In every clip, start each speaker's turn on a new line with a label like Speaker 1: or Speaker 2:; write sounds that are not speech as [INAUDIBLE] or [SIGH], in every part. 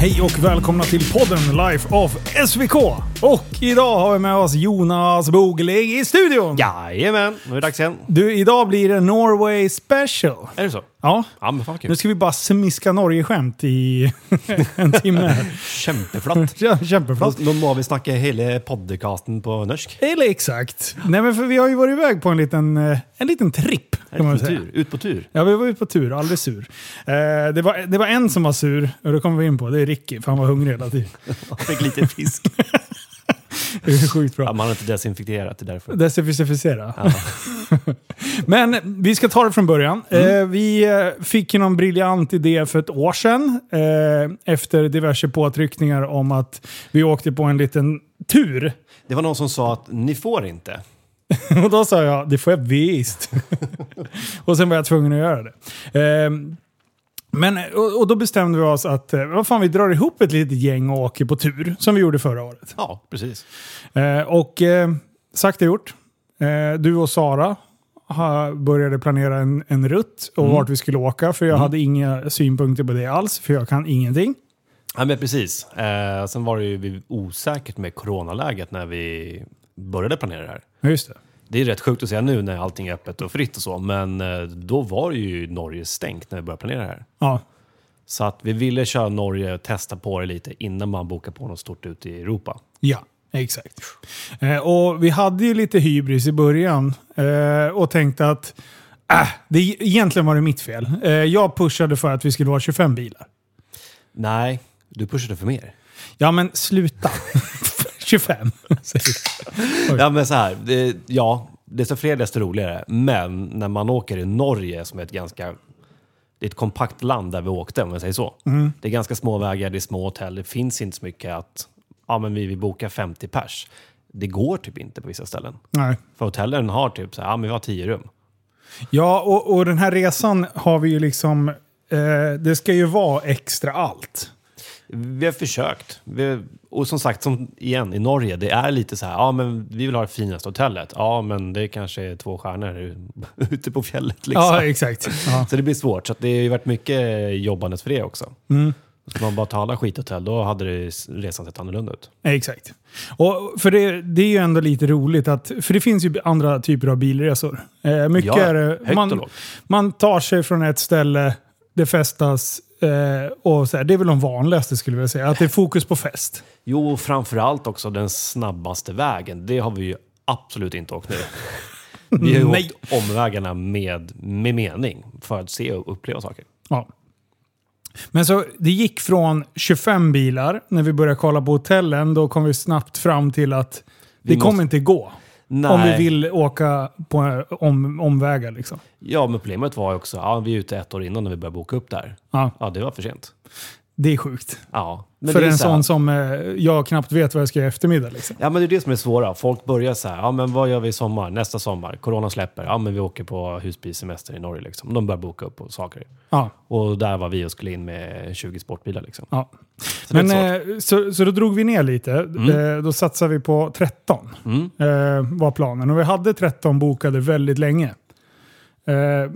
Speaker 1: Hej och välkomna till podden Life of SVK! Och idag har vi med oss Jonas Bogelig i studion!
Speaker 2: Jajamän, nu är det dags igen.
Speaker 1: Du, idag blir det Norway special.
Speaker 2: Är det så?
Speaker 1: Ja,
Speaker 2: Ja men fan vad
Speaker 1: nu
Speaker 2: kul.
Speaker 1: ska vi bara smiska Norge-skämt i [LAUGHS] en timme.
Speaker 2: [LAUGHS] Kämpeflatt.
Speaker 1: Kämpeflatt.
Speaker 2: Nu må vi snacka hela podcasten på norsk.
Speaker 1: Eller exakt. Nej men för vi har ju varit iväg på en liten, eh, en liten tripp. Kan man
Speaker 2: Ut på
Speaker 1: säga.
Speaker 2: tur. Ut på tur.
Speaker 1: Ja, vi var ute på tur och aldrig sur. Eh, det, var, det var en som var sur, och det kommer vi in på. Det är Ricky, för han var hungrig hela tiden.
Speaker 2: Jag fick lite fisk.
Speaker 1: Det är sjukt bra.
Speaker 2: Ja, man har inte desinfekterat, det är därför.
Speaker 1: Desinficera.
Speaker 2: Ja.
Speaker 1: [LAUGHS] Men vi ska ta det från början. Eh, vi eh, fick ju någon briljant idé för ett år sedan. Eh, efter diverse påtryckningar om att vi åkte på en liten tur. [LAUGHS]
Speaker 2: Det var någon som sa att ni får inte.
Speaker 1: Och då sa jag, det får jag visst. [LAUGHS] och sen var jag tvungen att göra det. Eh, men, och, och då bestämde vi oss att eh, vad fan, vi drar ihop ett litet gäng och åker på tur. Som vi gjorde förra året.
Speaker 2: Ja, precis.
Speaker 1: Eh, och eh, sagt och gjort. Eh, du och Sara ha, började planera en, en rutt och vart vi skulle åka. För jag hade inga synpunkter på det alls, för jag kan ingenting.
Speaker 2: Ja, men precis. Eh, sen var det ju osäkert med coronaläget när vi började planera det här.
Speaker 1: Ja, just det.
Speaker 2: Det är rätt sjukt att säga nu när allting är öppet och fritt och så, men eh, då var ju Norge stängt när vi började planera det här.
Speaker 1: Ja.
Speaker 2: Så att vi ville köra Norge och testa på det lite innan man bokar på något stort ute i Europa.
Speaker 1: Ja, exakt. Eh, och vi hade ju lite hybris i början eh, och tänkte att äh, det, egentligen var det mitt fel. Eh, jag pushade för att vi skulle vara 25 bilar.
Speaker 2: Nej, du pushade för mer.
Speaker 1: Ja, men [LAUGHS] sluta. 25. säger jag.
Speaker 2: Ja, men så här. Det, ja, desto fler desto roligare. Men när man åker i Norge som är ett ganska... Det är ett kompakt land där vi åkte, om jag säger så. Det är ganska små vägar, det är små hotell. Det finns inte så mycket att... Ja, men vi vill boka 50 pers. Det går typ inte på vissa ställen.
Speaker 1: Nej.
Speaker 2: För hotellen har typ så här, ja men vi har 10 rum.
Speaker 1: Ja, och, och den här resan har vi ju liksom... Eh, det ska ju vara extra allt.
Speaker 2: Vi har försökt. Vi, och som sagt, som, igen, i Norge, det är lite så här, ja men vi vill ha det finaste hotellet. Ja, men det kanske är två stjärnor [LAUGHS] ute på fjället liksom.
Speaker 1: Ja, exakt. Ja.
Speaker 2: Så det blir svårt. Så att det har ju varit mycket jobbandet för det också.
Speaker 1: Mm.
Speaker 2: Ska man bara ta alla skithotell, då hade det resan sett annorlunda ut.
Speaker 1: Exakt. Och för det, det är ju ändå lite roligt att... För det finns ju andra typer av bilresor. Eh, mycket
Speaker 2: Ja,
Speaker 1: är det...
Speaker 2: högt och
Speaker 1: Man,
Speaker 2: lågt.
Speaker 1: man tar sig från ett ställe, det festas eh, och så här, Det är väl de vanligaste skulle jag vilja säga. Att det är fokus på fest.
Speaker 2: Jo, och framförallt också den snabbaste vägen. Det har vi ju absolut
Speaker 1: [LAUGHS]
Speaker 2: inte åkt nu. Vi har ju
Speaker 1: Nej.
Speaker 2: åkt omvägarna med, med mening för att se och uppleva saker.
Speaker 1: Ja. Men så det gick från 25 bilar, när vi började kolla på hotellen, då kom vi snabbt fram till att det
Speaker 2: måste-
Speaker 1: kommer inte gå.
Speaker 2: Nej.
Speaker 1: Om vi vill åka på om, omvägar liksom.
Speaker 2: Ja, men problemet var ju också att ja, vi är ute ett år innan när vi började boka upp där.
Speaker 1: Ja,
Speaker 2: Ja, det var för sent.
Speaker 1: det är sjukt.
Speaker 2: Ja, men
Speaker 1: För
Speaker 2: det är
Speaker 1: en
Speaker 2: så här-
Speaker 1: sån som eh, jag knappt vet vad jag ska göra i eftermiddag. Liksom.
Speaker 2: Ja, men det är det som är svåra. Folk börjar så här, ja men vad gör vi i sommar? Nästa sommar? Corona släpper. Ja, men vi åker på husbilsemester i Norge liksom. De börjar boka upp och saker.
Speaker 1: Ja,
Speaker 2: Och där var vi och skulle in med 20 sportbilar liksom.
Speaker 1: ja.
Speaker 2: Så det är
Speaker 1: Men,
Speaker 2: inte svårt.
Speaker 1: eh, så, så då drog vi ner lite. Eh, då satsade vi på 13,
Speaker 2: Mm.
Speaker 1: eh, var planen. Och vi hade 13 bokade väldigt länge. Eh,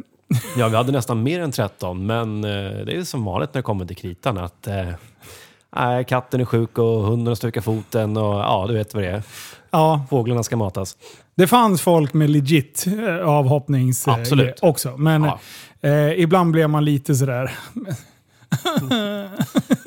Speaker 2: Ja, vi hade nästan mer än 13, men eh, det är ju som vanligt när det kommer till kritan att eh, nej, katten är sjuk och hunden har stukat foten och ja, du vet vad det är.
Speaker 1: ja,
Speaker 2: Fåglarna ska matas.
Speaker 1: Det fanns folk med legit eh, avhoppnings eh,
Speaker 2: Absolut.
Speaker 1: grej också. Men
Speaker 2: Ja.
Speaker 1: eh, ibland blev man lite sådär.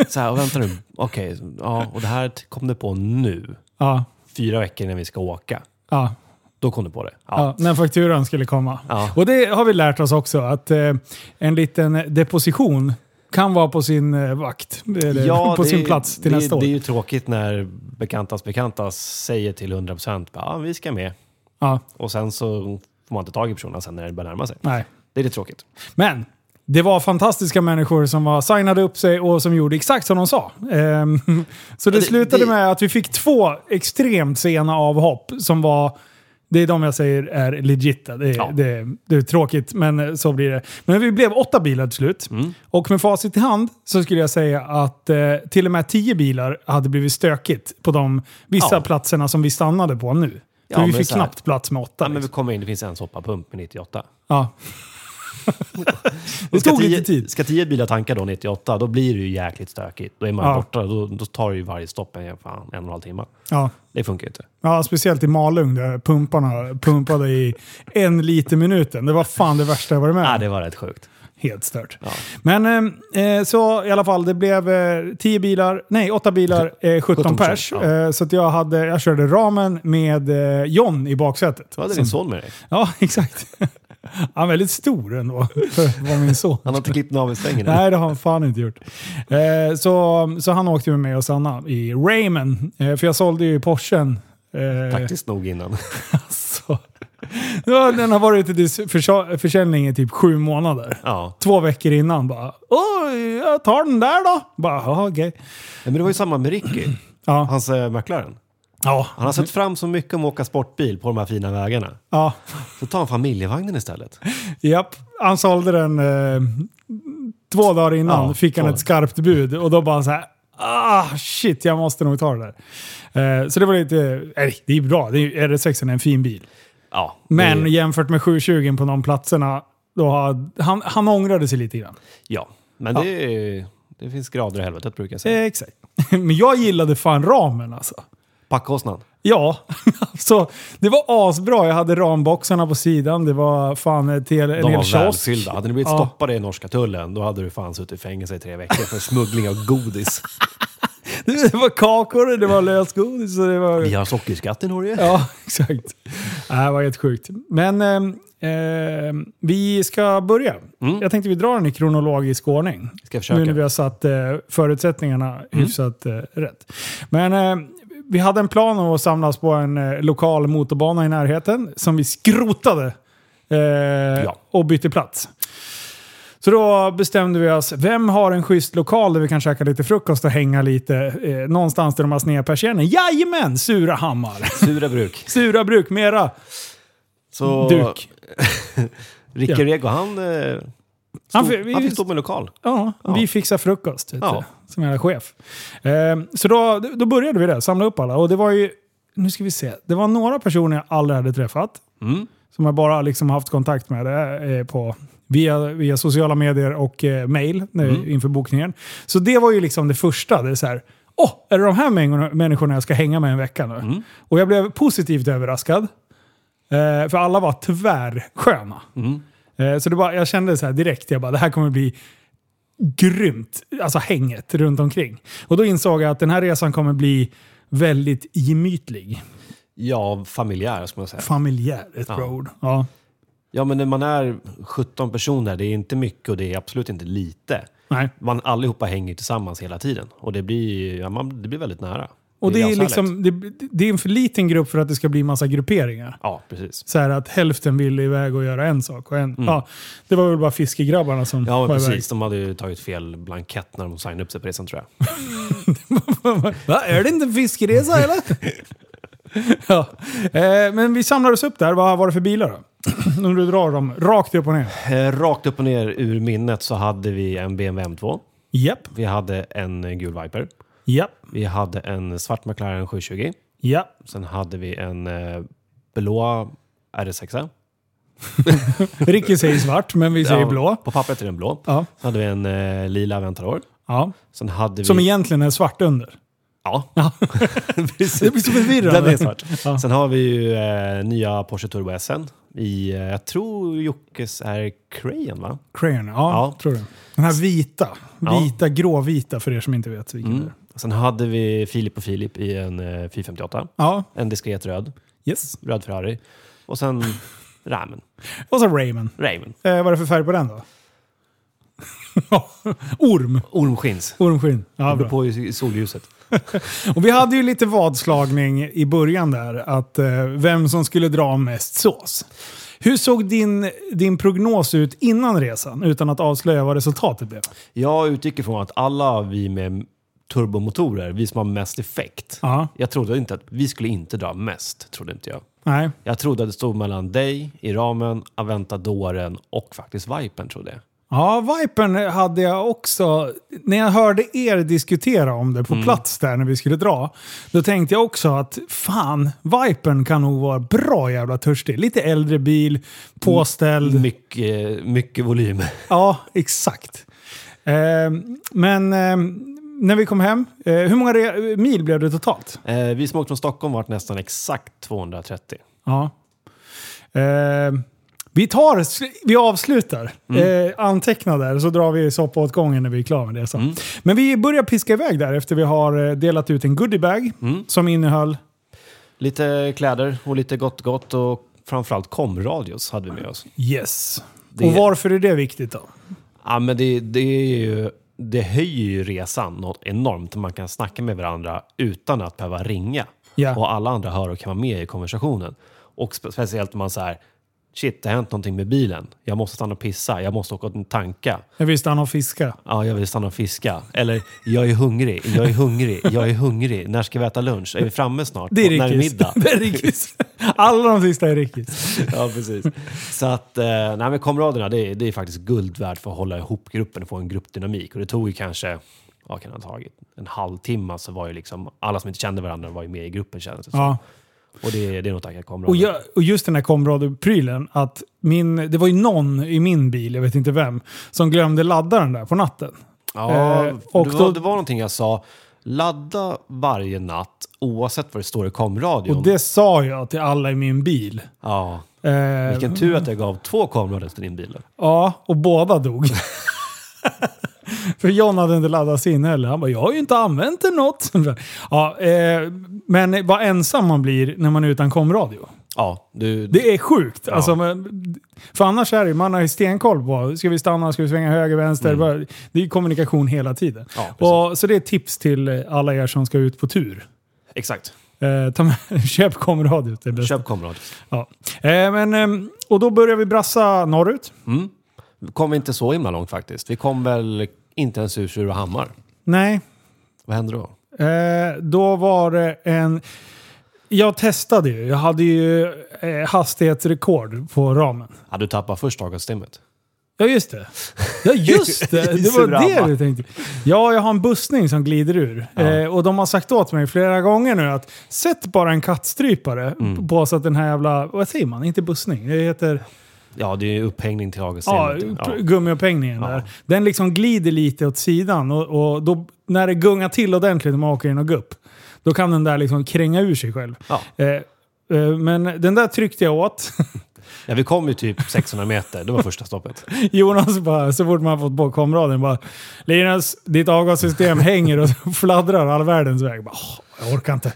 Speaker 2: Så här, och vänta nu, okej, ja, och det här kom du på nu,
Speaker 1: Ja,
Speaker 2: fyra veckor innan vi ska åka.
Speaker 1: ja,
Speaker 2: Då kom du på det.
Speaker 1: ja.
Speaker 2: Ja.
Speaker 1: när fakturan skulle komma.
Speaker 2: Ja.
Speaker 1: Och det har vi lärt oss också att eh, en liten deposition kan vara på sin eh, vakt. [LAUGHS] Eller på
Speaker 2: det-
Speaker 1: sin plats till
Speaker 2: det,
Speaker 1: nästa år.
Speaker 2: Det är ju tråkigt när bekantas bekantas säger till 100% bara, ja, vi ska med.
Speaker 1: Ja,
Speaker 2: Och sen så får man inte tag i personen sen när det börjar närma sig.
Speaker 1: nej.
Speaker 2: Det är lite tråkigt.
Speaker 1: Men det var fantastiska människor som var signade upp sig och som gjorde exakt som de sa. Ehm, [LAUGHS] så det,
Speaker 2: det-
Speaker 1: slutade
Speaker 2: det-
Speaker 1: med att vi fick två extremt sena avhopp som var det är de jag säger är legita. Det är,
Speaker 2: Ja.
Speaker 1: det, det är tråkigt, men eh, så blir det. Men vi blev åtta bilar till slut.
Speaker 2: Mm.
Speaker 1: Och med facit i hand så skulle jag säga att eh, till och med tio bilar hade blivit stökigt på de vissa
Speaker 2: Ja.
Speaker 1: platserna som vi stannade på nu.
Speaker 2: Ja,
Speaker 1: För vi
Speaker 2: men
Speaker 1: fick
Speaker 2: så här-
Speaker 1: knappt plats med åtta.
Speaker 2: Ja, men vi
Speaker 1: liksom.
Speaker 2: kommer in, det finns en soppapump med 98.
Speaker 1: ja. [LAUGHS] Det
Speaker 2: ska
Speaker 1: tog
Speaker 2: tio-
Speaker 1: lite tid.
Speaker 2: Ska tio bilar tanka då 98, då blir det ju jäkligt stökigt. Då är man
Speaker 1: Ja.
Speaker 2: borta. Då, då tar det ju varje stopp en, fan, en och en halv timme.
Speaker 1: Ja.
Speaker 2: Det funkar ju inte.
Speaker 1: ja, speciellt i Malung där pumparna pumpade i en liter minuten. Det var fan det värsta jag varit med
Speaker 2: Nej,
Speaker 1: om.
Speaker 2: det var rätt sjukt.
Speaker 1: Helt stört.
Speaker 2: Ja.
Speaker 1: Men eh, eh, så i alla fall, det blev eh, 10 bilar, nej 8 bilar, eh, 17,
Speaker 2: 17
Speaker 1: pers.
Speaker 2: ja.
Speaker 1: Eh, så att jag, hade, jag körde ramen med eh, John i baksätet.
Speaker 2: Då hade din son med dig.
Speaker 1: Ja, [LAUGHS] exakt. Han är väldigt stor ändå, för att vara min son.
Speaker 2: Han har inte klippt navelsträngen. än.
Speaker 1: Nej, det har han fan inte gjort. Eh, så, så han åkte med mig och Sanna i Rayman. Eh, för jag sålde ju Porschen. Eh,
Speaker 2: Taktiskt nog [LAUGHS] innan.
Speaker 1: så. Ja, Den har varit i dis- förså- försäljning i typ sju månader.
Speaker 2: Ja.
Speaker 1: Två veckor innan bara Åh, jag tar den där då. Bara, "Ja, okej.
Speaker 2: Men det var ju samma med Ricky,
Speaker 1: Ja.
Speaker 2: hans eh, McLaren.
Speaker 1: Ja.
Speaker 2: Han har sett fram så mycket om att åka sportbil på de här fina vägarna.
Speaker 1: ja.
Speaker 2: Så tar han familjevagnen istället.
Speaker 1: Japp. Han sålde den eh, två dagar innan.
Speaker 2: Ja,
Speaker 1: fick han
Speaker 2: två.
Speaker 1: ett skarpt bud och då bara så här. Ah, shit, jag måste nog ta det där. Eh, så det var lite... Nej, det är ju bra. Det är, ju- RS6 är en fin bil.
Speaker 2: Ja,
Speaker 1: Men
Speaker 2: det,
Speaker 1: jämfört med 720 på de platserna, då har, han, han ångrade sig lite grann.
Speaker 2: ja. men
Speaker 1: Ja.
Speaker 2: Det, är- det finns grader i helvetet brukar jag säga.
Speaker 1: Eh, exakt. [LAUGHS] Men jag gillade fan ramen alltså.
Speaker 2: Packkostnad.
Speaker 1: Ja, [LAUGHS] alltså, det var asbra. Jag hade ramboxarna på sidan. Det var fan ett hel, en
Speaker 2: De
Speaker 1: hel
Speaker 2: var
Speaker 1: kiosk.
Speaker 2: välfyllda. Hade ni blivit
Speaker 1: Ja.
Speaker 2: stoppade i norska tullen, då hade du fan suttit i fängelse i tre veckor för smuggling av [LAUGHS] godis.
Speaker 1: [LAUGHS] Det var kakor, det var lösgodis och det var...
Speaker 2: Vi har sockerskatt i Norge.
Speaker 1: Ja, [LAUGHS] exakt. Nej, Det var helt sjukt. Men eh, eh, vi ska börja.
Speaker 2: Mm.
Speaker 1: Jag tänkte vi drar den i kronologisk ordning.
Speaker 2: Ska försöka.
Speaker 1: Nu när vi har satt eh, förutsättningarna
Speaker 2: Mm.
Speaker 1: hyfsat eh, rätt. Men eh, vi hade en plan om att samlas på en eh, lokal motorbana i närheten som vi skrotade eh, och bytte plats. Så då bestämde vi oss, vem har en schysst lokal där vi kan käka lite frukost och hänga lite? Eh, någonstans där de har sneda persienner. Jajamän, Surahammar! [LAUGHS]
Speaker 2: Sura bruk.
Speaker 1: Sura bruk, mera
Speaker 2: Så
Speaker 1: duk.
Speaker 2: Ricky
Speaker 1: Ja.
Speaker 2: Rego, han, eh,
Speaker 1: Han
Speaker 2: stod-
Speaker 1: fi- vi-
Speaker 2: han fick stå med lokal.
Speaker 1: Ja,
Speaker 2: Ja.
Speaker 1: vi fixar frukost. Vet
Speaker 2: Ja.
Speaker 1: du, som jävla chef. Ehm, så då, då började vi där, samla upp alla. Och det var ju, nu ska vi se, det var några personer jag aldrig hade träffat.
Speaker 2: Mm.
Speaker 1: Som jag bara liksom haft kontakt med eh, på, via, via sociala medier och eh, mail nu,
Speaker 2: Mm.
Speaker 1: inför bokningen. Så det var ju liksom det första. Det är så här, åh, är det de här mäng- människorna jag ska hänga med en vecka nu?
Speaker 2: Mm.
Speaker 1: Och jag blev positivt överraskad. Eh, för alla var tvärsköna.
Speaker 2: Mm.
Speaker 1: Eh, så det bara, jag kände så här direkt, jag bara, det här kommer bli grymt. Alltså hänget runt omkring. Och då insåg jag att den här resan kommer bli väldigt gemytlig.
Speaker 2: Ja, familjär ska man säga.
Speaker 1: Familjär, ett bra
Speaker 2: Ja.
Speaker 1: ord. Ja.
Speaker 2: Ja, men när man är 17 personer, det är inte mycket och det är absolut inte lite.
Speaker 1: Nej.
Speaker 2: Man allihopa hänger tillsammans hela tiden och det blir, ja, man, det blir väldigt nära.
Speaker 1: Och det är,
Speaker 2: ganska härligt.
Speaker 1: liksom, det, det är en för liten grupp för att det ska bli massa grupperingar.
Speaker 2: Ja, precis.
Speaker 1: Så här att hälften vill iväg och göra en sak. Och en, ja, det var väl bara fiskegrabbarna som
Speaker 2: Mm. Ja,
Speaker 1: var
Speaker 2: men precis. De hade ju tagit fel blankett när de signade upp sig på resan tror jag.
Speaker 1: iväg. Va, är det inte en fiskeresa eller? [LAUGHS] ja. eh, men vi samlades upp där. Vad var det för bilar då? [CLEARS THROAT] Om du drar dem rakt upp och ner.
Speaker 2: Eh, Rakt upp och ner ur minnet så hade vi en BMW M2.
Speaker 1: Japp,
Speaker 2: Vi hade en eh, gul Viper.
Speaker 1: japp,
Speaker 2: Vi hade en svart McLaren 720.
Speaker 1: japp.
Speaker 2: Sen hade vi en eh, blå RS6.
Speaker 1: Ricky säger svart, men vi säger blå.
Speaker 2: På pappret är den blå.
Speaker 1: Ja.
Speaker 2: Sen hade vi en eh, lila Aventador.
Speaker 1: Ja.
Speaker 2: Sen hade vi...
Speaker 1: Som egentligen är svart under.
Speaker 2: Ja,
Speaker 1: [LAUGHS]
Speaker 2: [LAUGHS]
Speaker 1: Det blir så förvirrande.
Speaker 2: den är svart.
Speaker 1: [LAUGHS] Ja.
Speaker 2: Sen har vi ju eh, nya Porsche Turbo SN. I, eh, jag tror Jockes är Crayon
Speaker 1: Mm.
Speaker 2: va?
Speaker 1: Crayon, ja,
Speaker 2: Ja.
Speaker 1: tror du. Den här vita.
Speaker 2: Ja.
Speaker 1: Vita, gråvita för er som inte vet vilken det är.
Speaker 2: Sen hade vi Filip och Filip i en eh, 458.
Speaker 1: Ja,
Speaker 2: En diskret röd.
Speaker 1: yes.
Speaker 2: Röd Ferrari.
Speaker 1: [LAUGHS]
Speaker 2: Och sen Ramen.
Speaker 1: Och så Raymond.
Speaker 2: Raven.
Speaker 1: Eh, vad är det för färg på den då? [LAUGHS] Orm.
Speaker 2: Ormskins.
Speaker 1: Ormskinn. Ja,
Speaker 2: Det beror
Speaker 1: bra.
Speaker 2: på i- i solljuset.
Speaker 1: Och vi hade ju lite vadslagning i början där, att eh, vem som skulle dra mest sås. Hur såg din, din prognos ut innan resan, utan att avslöja vad resultatet blev?
Speaker 2: Jag utgick ifrån att alla vi med turbomotorer, vi som har mest effekt.
Speaker 1: Ja,
Speaker 2: Jag trodde inte att vi skulle inte dra mest, trodde inte jag.
Speaker 1: nej.
Speaker 2: Jag trodde att det stod mellan dig i ramen, Aventadoren och faktiskt Vipern trodde jag.
Speaker 1: Ja, Vipern hade jag också. När jag hörde er diskutera om det på plats där när vi skulle dra. Då tänkte jag också att fan, Vipern kan nog vara bra jävla törstig. Lite äldre bil, påställd.
Speaker 2: Mycket, mycket volym.
Speaker 1: Ja, exakt. Ehm, men ehm, när vi kom hem, eh, hur många re- mil blev det totalt?
Speaker 2: Eh, vi som åkte från Stockholm vart nästan exakt 230.
Speaker 1: Ja. Ehm, vi, tar, vi avslutar
Speaker 2: Mm.
Speaker 1: eh, anteckna där, så drar vi soppåtgången när vi är klara med det. sen.
Speaker 2: Mm.
Speaker 1: Men vi börjar piska iväg där efter vi har eh, delat ut en goodiebag
Speaker 2: Mm.
Speaker 1: som innehöll...
Speaker 2: Lite kläder och lite gott gott och framförallt komradios hade vi med oss.
Speaker 1: Yes.
Speaker 2: Det-
Speaker 1: Och varför är det viktigt då?
Speaker 2: Ja, men det, det, är ju, det höjer ju resan något enormt. Man kan snacka med varandra utan att behöva ringa.
Speaker 1: Ja.
Speaker 2: Och alla andra hör och kan vara med i konversationen. Och spe- speciellt om man så här, shit, det har hänt någonting med bilen. Jag måste stanna och pissa. Jag måste åka och tanka.
Speaker 1: Jag visste han har fiska.
Speaker 2: Ja, jag vill stanna och fiska. Eller, jag är hungrig. Jag är hungrig. Jag är hungrig. När ska vi äta lunch? Är vi framme snart?
Speaker 1: Det är
Speaker 2: När är
Speaker 1: Rickis.
Speaker 2: middag?
Speaker 1: [LAUGHS] Det är Rickis. Alla de sista är Rickis.
Speaker 2: [LAUGHS] Ja, precis. Så att, eh, nej men kamraterna, det är, det är faktiskt guld värt för att hålla ihop gruppen och få en gruppdynamik. Och det tog ju kanske, vad kan det ha tagit, en halvtimme så var ju liksom, alla som inte kände varandra var ju med i gruppen kändes det som.
Speaker 1: Ja.
Speaker 2: Och det, det är nog tack vare
Speaker 1: Och,
Speaker 2: kamraterna.
Speaker 1: jag, och just den här komradioprylen, att min, det var ju någon i min bil, jag vet inte vem, som glömde ladda den där på natten.
Speaker 2: ja,
Speaker 1: eh,
Speaker 2: och
Speaker 1: och
Speaker 2: det,
Speaker 1: då-
Speaker 2: var, det var någonting jag sa, ladda varje natt oavsett vad det står i komradion.
Speaker 1: Och det sa jag till alla i min bil.
Speaker 2: Ja,
Speaker 1: Eh,
Speaker 2: vilken tur att jag gav två kamradios till din bil.
Speaker 1: Ja, och båda dog. [LAUGHS] För John hade inte laddat sin heller. Han bara, jag har ju inte använt den något. [LAUGHS] ja, eh, men vad ensam man blir när man är utan komradio.
Speaker 2: Ja, du,
Speaker 1: Det är sjukt. Alltså, men- för annars är det ju- man har ju stenkoll på, ska vi stanna, ska vi svänga höger, vänster? Bara- Det är ju kommunikation hela tiden.
Speaker 2: Ja, precis.
Speaker 1: och, så det är ett tips till eh, alla er som ska ut på tur.
Speaker 2: exakt.
Speaker 1: Eh, ta med, [LAUGHS] köp komradiot. Det är bäst.
Speaker 2: Köp komradios.
Speaker 1: Ja. Eh, men, ehm, och då börjar vi brassa norrut.
Speaker 2: Kom inte så himla långt faktiskt. Vi kom väl inte ens ur Surahammar.
Speaker 1: Nej,
Speaker 2: Vad hände då?
Speaker 1: Eh, då var det en... Jag testade ju. Jag hade ju eh, hastighetsrekord på ramen.
Speaker 2: Ja, du tappade först avgassystemet.
Speaker 1: Ja, just det. Ja, just det.
Speaker 2: [LAUGHS] I
Speaker 1: Det var
Speaker 2: Surahammar.
Speaker 1: det du tänkte. Ja, jag har en bussning som glider ur.
Speaker 2: Ja.
Speaker 1: Eh, och de har sagt åt mig flera gånger nu att sätt bara en kattstrypare
Speaker 2: Mm.
Speaker 1: på så att den här jävla... Vad säger man? Inte bussning. Det heter...
Speaker 2: Ja, det är ju upphängning till
Speaker 1: Ja,
Speaker 2: avgassystemet.
Speaker 1: p- gummiupphängningen
Speaker 2: Ja.
Speaker 1: där. Den liksom glider lite åt sidan och, och då, när det gungar till ordentligt och man åker i någon gupp, då kan den där liksom kränga ur sig själv.
Speaker 2: Ja.
Speaker 1: Eh, eh, men den där tryckte jag åt. [LAUGHS]
Speaker 2: Ja, vi kom ju typ 600 meter. Det var första stoppet.
Speaker 1: Jonas bara, så fort man fått på komraden, bara Linus, ditt avgassystem hänger och [LAUGHS] fladdrar all världens väg. Bara, "Åh, jag orkar inte.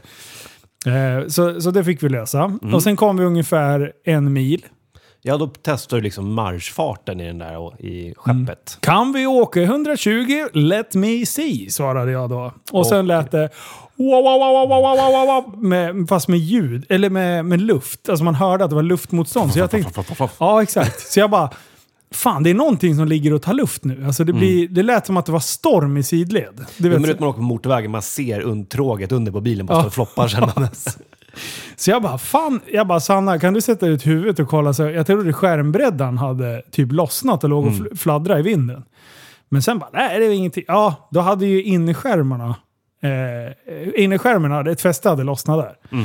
Speaker 1: Eh, så, så det fick vi lösa. Och sen kom vi ungefär en mil.
Speaker 2: Ja, då testar du liksom marschfarten i den där och- i
Speaker 1: Mm.
Speaker 2: skeppet.
Speaker 1: Kan vi åka 120? Let me see, svarade jag då. Och sen lät det... Wow, wow, wow, wow, wow, wow, wow, wow, med, fast med ljud, eller med, med luft. Alltså man hörde att det var luftmotstånd. Så jag tänkte... Ja, exakt. Så jag bara... Fan, det är någonting som ligger och tar luft nu. Alltså det, blir, det lät som att det var storm i sidled. Du
Speaker 2: Mm. Men
Speaker 1: vet,
Speaker 2: det är att man åker på motorvägen, man ser und tråget under på bilen bara
Speaker 1: Ja.
Speaker 2: står och floppar
Speaker 1: [LAUGHS]
Speaker 2: sen.
Speaker 1: Så jag bara, fan. Jag bara, Sanna, kan du sätta ut huvudet och kolla? Så jag trodde skärmbreddan hade typ lossnat och låg och fl- fladdrade i vinden. Men sen bara, nej det är ingenting. Ja, då hade ju innerskärmarna, eh, innerskärmen hade, ett fäste hade lossnat där.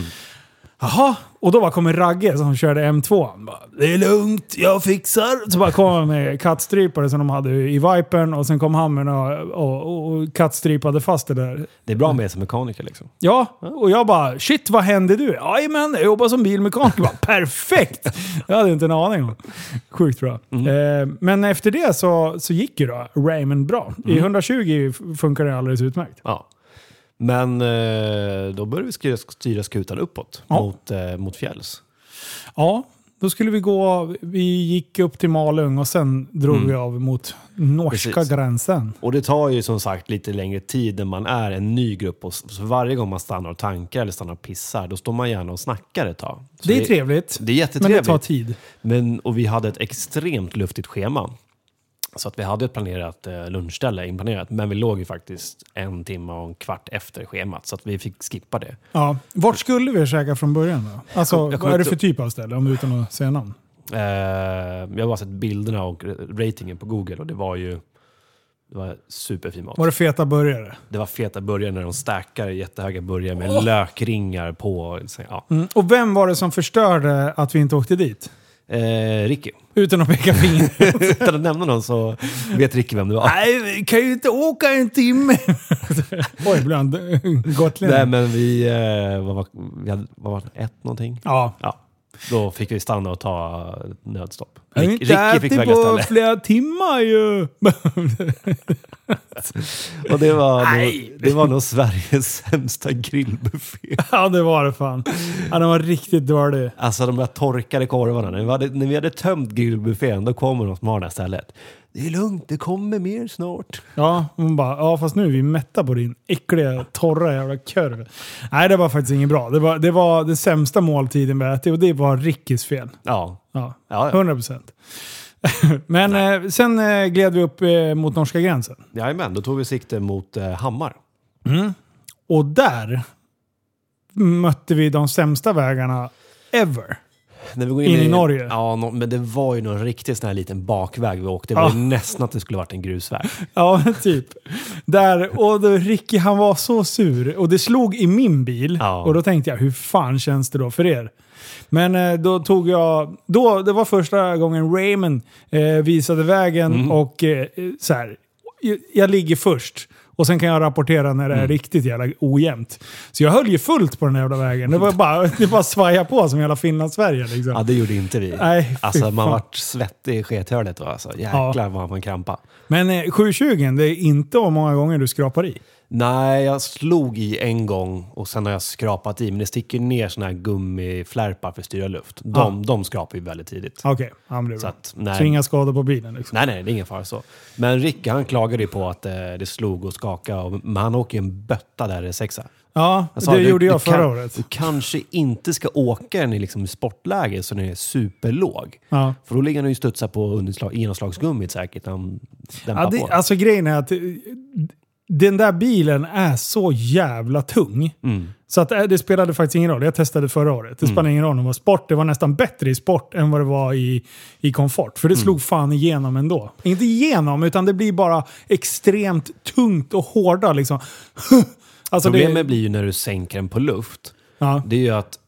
Speaker 1: Jaha, och då bara kommer Ragge som körde M2. Han bara, det är lugnt, jag fixar. Så bara kom han med kattstrypare som de hade i Vipern och sen kom han med några- och, och, och kattstrypade fast det där
Speaker 2: Det är bra med som mekaniker liksom.
Speaker 1: Ja, och jag bara shit vad hände du? Jajamän, jag jobbar som bilmekaniker. [LAUGHS] Bara, Perfekt! Jag hade inte en aning om. Sjukt bra. Eh, men efter det så, så gick ju då Raymond bra. I 120 f- funkar det alldeles utmärkt.
Speaker 2: Ja. Men eh, då började vi styra, styra skutan uppåt
Speaker 1: Ja.
Speaker 2: mot, eh, mot fjälls.
Speaker 1: Ja, då skulle vi gå, vi gick upp till Malung och sen drog vi av mot norska
Speaker 2: Precis.
Speaker 1: gränsen.
Speaker 2: Och det tar ju som sagt lite längre tid när man är en ny grupp. Och s- så varje gång man stannar och tankar eller stannar och pissar, då står man gärna och snackar ett tag. Så
Speaker 1: det är trevligt,
Speaker 2: Det
Speaker 1: men
Speaker 2: är
Speaker 1: det
Speaker 2: jättetrevligt.
Speaker 1: tar tid.
Speaker 2: Men, och vi hade ett extremt luftigt schema. Så att vi hade ett planerat eh, lunchställe inplanerat, men vi låg ju faktiskt en timme och en kvart efter schemat, så att vi fick skippa det.
Speaker 1: Ja. Vart skulle vi käka från början då? Alltså,
Speaker 2: jag kommer
Speaker 1: vad är det
Speaker 2: inte-
Speaker 1: för typ av ställe? Om utan att säga namn.
Speaker 2: Eh, jag har bara sett bilderna och ratingen på Google och det var ju det var superfin mat.
Speaker 1: Var det feta burgare?
Speaker 2: Det var feta burgare när de stackar jättehöga burgare med lökringar på. Så, ja.
Speaker 1: Mm. Och vem var det som förstörde att vi inte åkte dit?
Speaker 2: eh, Ricky. [LAUGHS]
Speaker 1: Utan att peka finger.
Speaker 2: Utan att nämna någon så vet Ricky vem det var.
Speaker 1: Nej, vi kan ju inte åka en timme! Oj, bland [LAUGHS] gotlänning.
Speaker 2: Nej, men vi, eh, vad var, vi hade, vad var det, ett någonting?
Speaker 1: Ja.
Speaker 2: Ja. Då fick vi stanna och ta nödstopp.
Speaker 1: Jag har
Speaker 2: Rick-
Speaker 1: inte
Speaker 2: Ricky
Speaker 1: ätit på
Speaker 2: fick väga ställe.
Speaker 1: flera timmar ju! [LAUGHS]
Speaker 2: Och det var,
Speaker 1: Nej.
Speaker 2: nog, det var nog Sveriges [LAUGHS] sämsta grillbuffé.
Speaker 1: ja, det var det fan. Ja, den var riktigt dålig.
Speaker 2: Alltså de där torkade korvarna. När vi hade, när vi hade tömt grillbuffén, då kommer de som har det här stället. Det är lugnt, det kommer mer snart.
Speaker 1: Ja, hon bara, ja fast nu är vi mätta på din äckliga, torra jävla korv. Nej, det var faktiskt inget bra. Det var, det var den sämsta måltiden vi ätit och det var Rickis fel.
Speaker 2: Ja,
Speaker 1: Ja,
Speaker 2: ja, ja.
Speaker 1: 100 procent. [LAUGHS] Men eh, sen eh, gled vi upp eh, mot norska gränsen.
Speaker 2: Jajamän, då tog vi sikte mot eh, Hammar.
Speaker 1: Och där mötte vi de sämsta vägarna ever.
Speaker 2: När vi går
Speaker 1: In i Norge.
Speaker 2: Ja, nå- men det var ju någon riktig sån här liten bakväg vi åkte. Det var
Speaker 1: Ja.
Speaker 2: ju nästan att det skulle varit en grusväg.
Speaker 1: Ja, [LAUGHS] men typ. Där, och då, Ricky han var så sur. Och det slog i min bil.
Speaker 2: Ja.
Speaker 1: Och då tänkte jag, hur fan känns det då för er? Men eh, då tog jag... Då, det var första gången Raymond eh, visade vägen och eh, så här, jag, jag ligger först. Och sen kan jag rapportera när det är riktigt jävla ojämnt. Så jag höll ju fullt på den här jävla vägen. Det var bara, [LAUGHS] det bara svaja på som hela Finland-Sverige liksom.
Speaker 2: Ja, det gjorde inte vi.
Speaker 1: Nej, fy
Speaker 2: alltså, man
Speaker 1: fan.
Speaker 2: vart svettig i skethörnet. va? Alltså, jäklar vad man krampa.
Speaker 1: Men eh, 720, det är inte hur många gånger du skrapar i.
Speaker 2: Nej, jag slog i en gång och sen har jag skrapat i. Men det sticker ner såna här gummiflärpar för att styra luft. De, de skrapar ju väldigt tidigt.
Speaker 1: Okej, ja, men det är
Speaker 2: Så
Speaker 1: bra.
Speaker 2: att, nej.
Speaker 1: Så inga skador på bilen liksom.
Speaker 2: Nej, nej, det är ingen fara så. Men Rick, han klagade ju på att eh, det slog och skakade. Och, men han åker ju en bötta där i sexa.
Speaker 1: Ja,
Speaker 2: Jag sa,
Speaker 1: det
Speaker 2: du-
Speaker 1: gjorde
Speaker 2: du
Speaker 1: jag förra
Speaker 2: kan-
Speaker 1: året.
Speaker 2: Du kanske inte ska åka den i liksom sportläge så den är superlåg.
Speaker 1: Ja.
Speaker 2: För då ligger den ju och studsar på underslag, genomslagsgummit säkert. när Den, den
Speaker 1: Ja, det, alltså grejen är att eh, den där bilen är så jävla tung.
Speaker 2: Mm.
Speaker 1: Så att, eh, det spelade faktiskt ingen roll. Jag testade förra året. Det spelade ingen roll om det var sport. Det var nästan bättre i sport än vad det var i, i komfort.
Speaker 2: Mm.
Speaker 1: För det slog fan igenom ändå. Inte igenom, utan det blir bara extremt tungt och hårda liksom. [LAUGHS] alltså
Speaker 2: Problemet
Speaker 1: det,
Speaker 2: blir ju när du sänker den på luft.
Speaker 1: ja,
Speaker 2: Det är ju att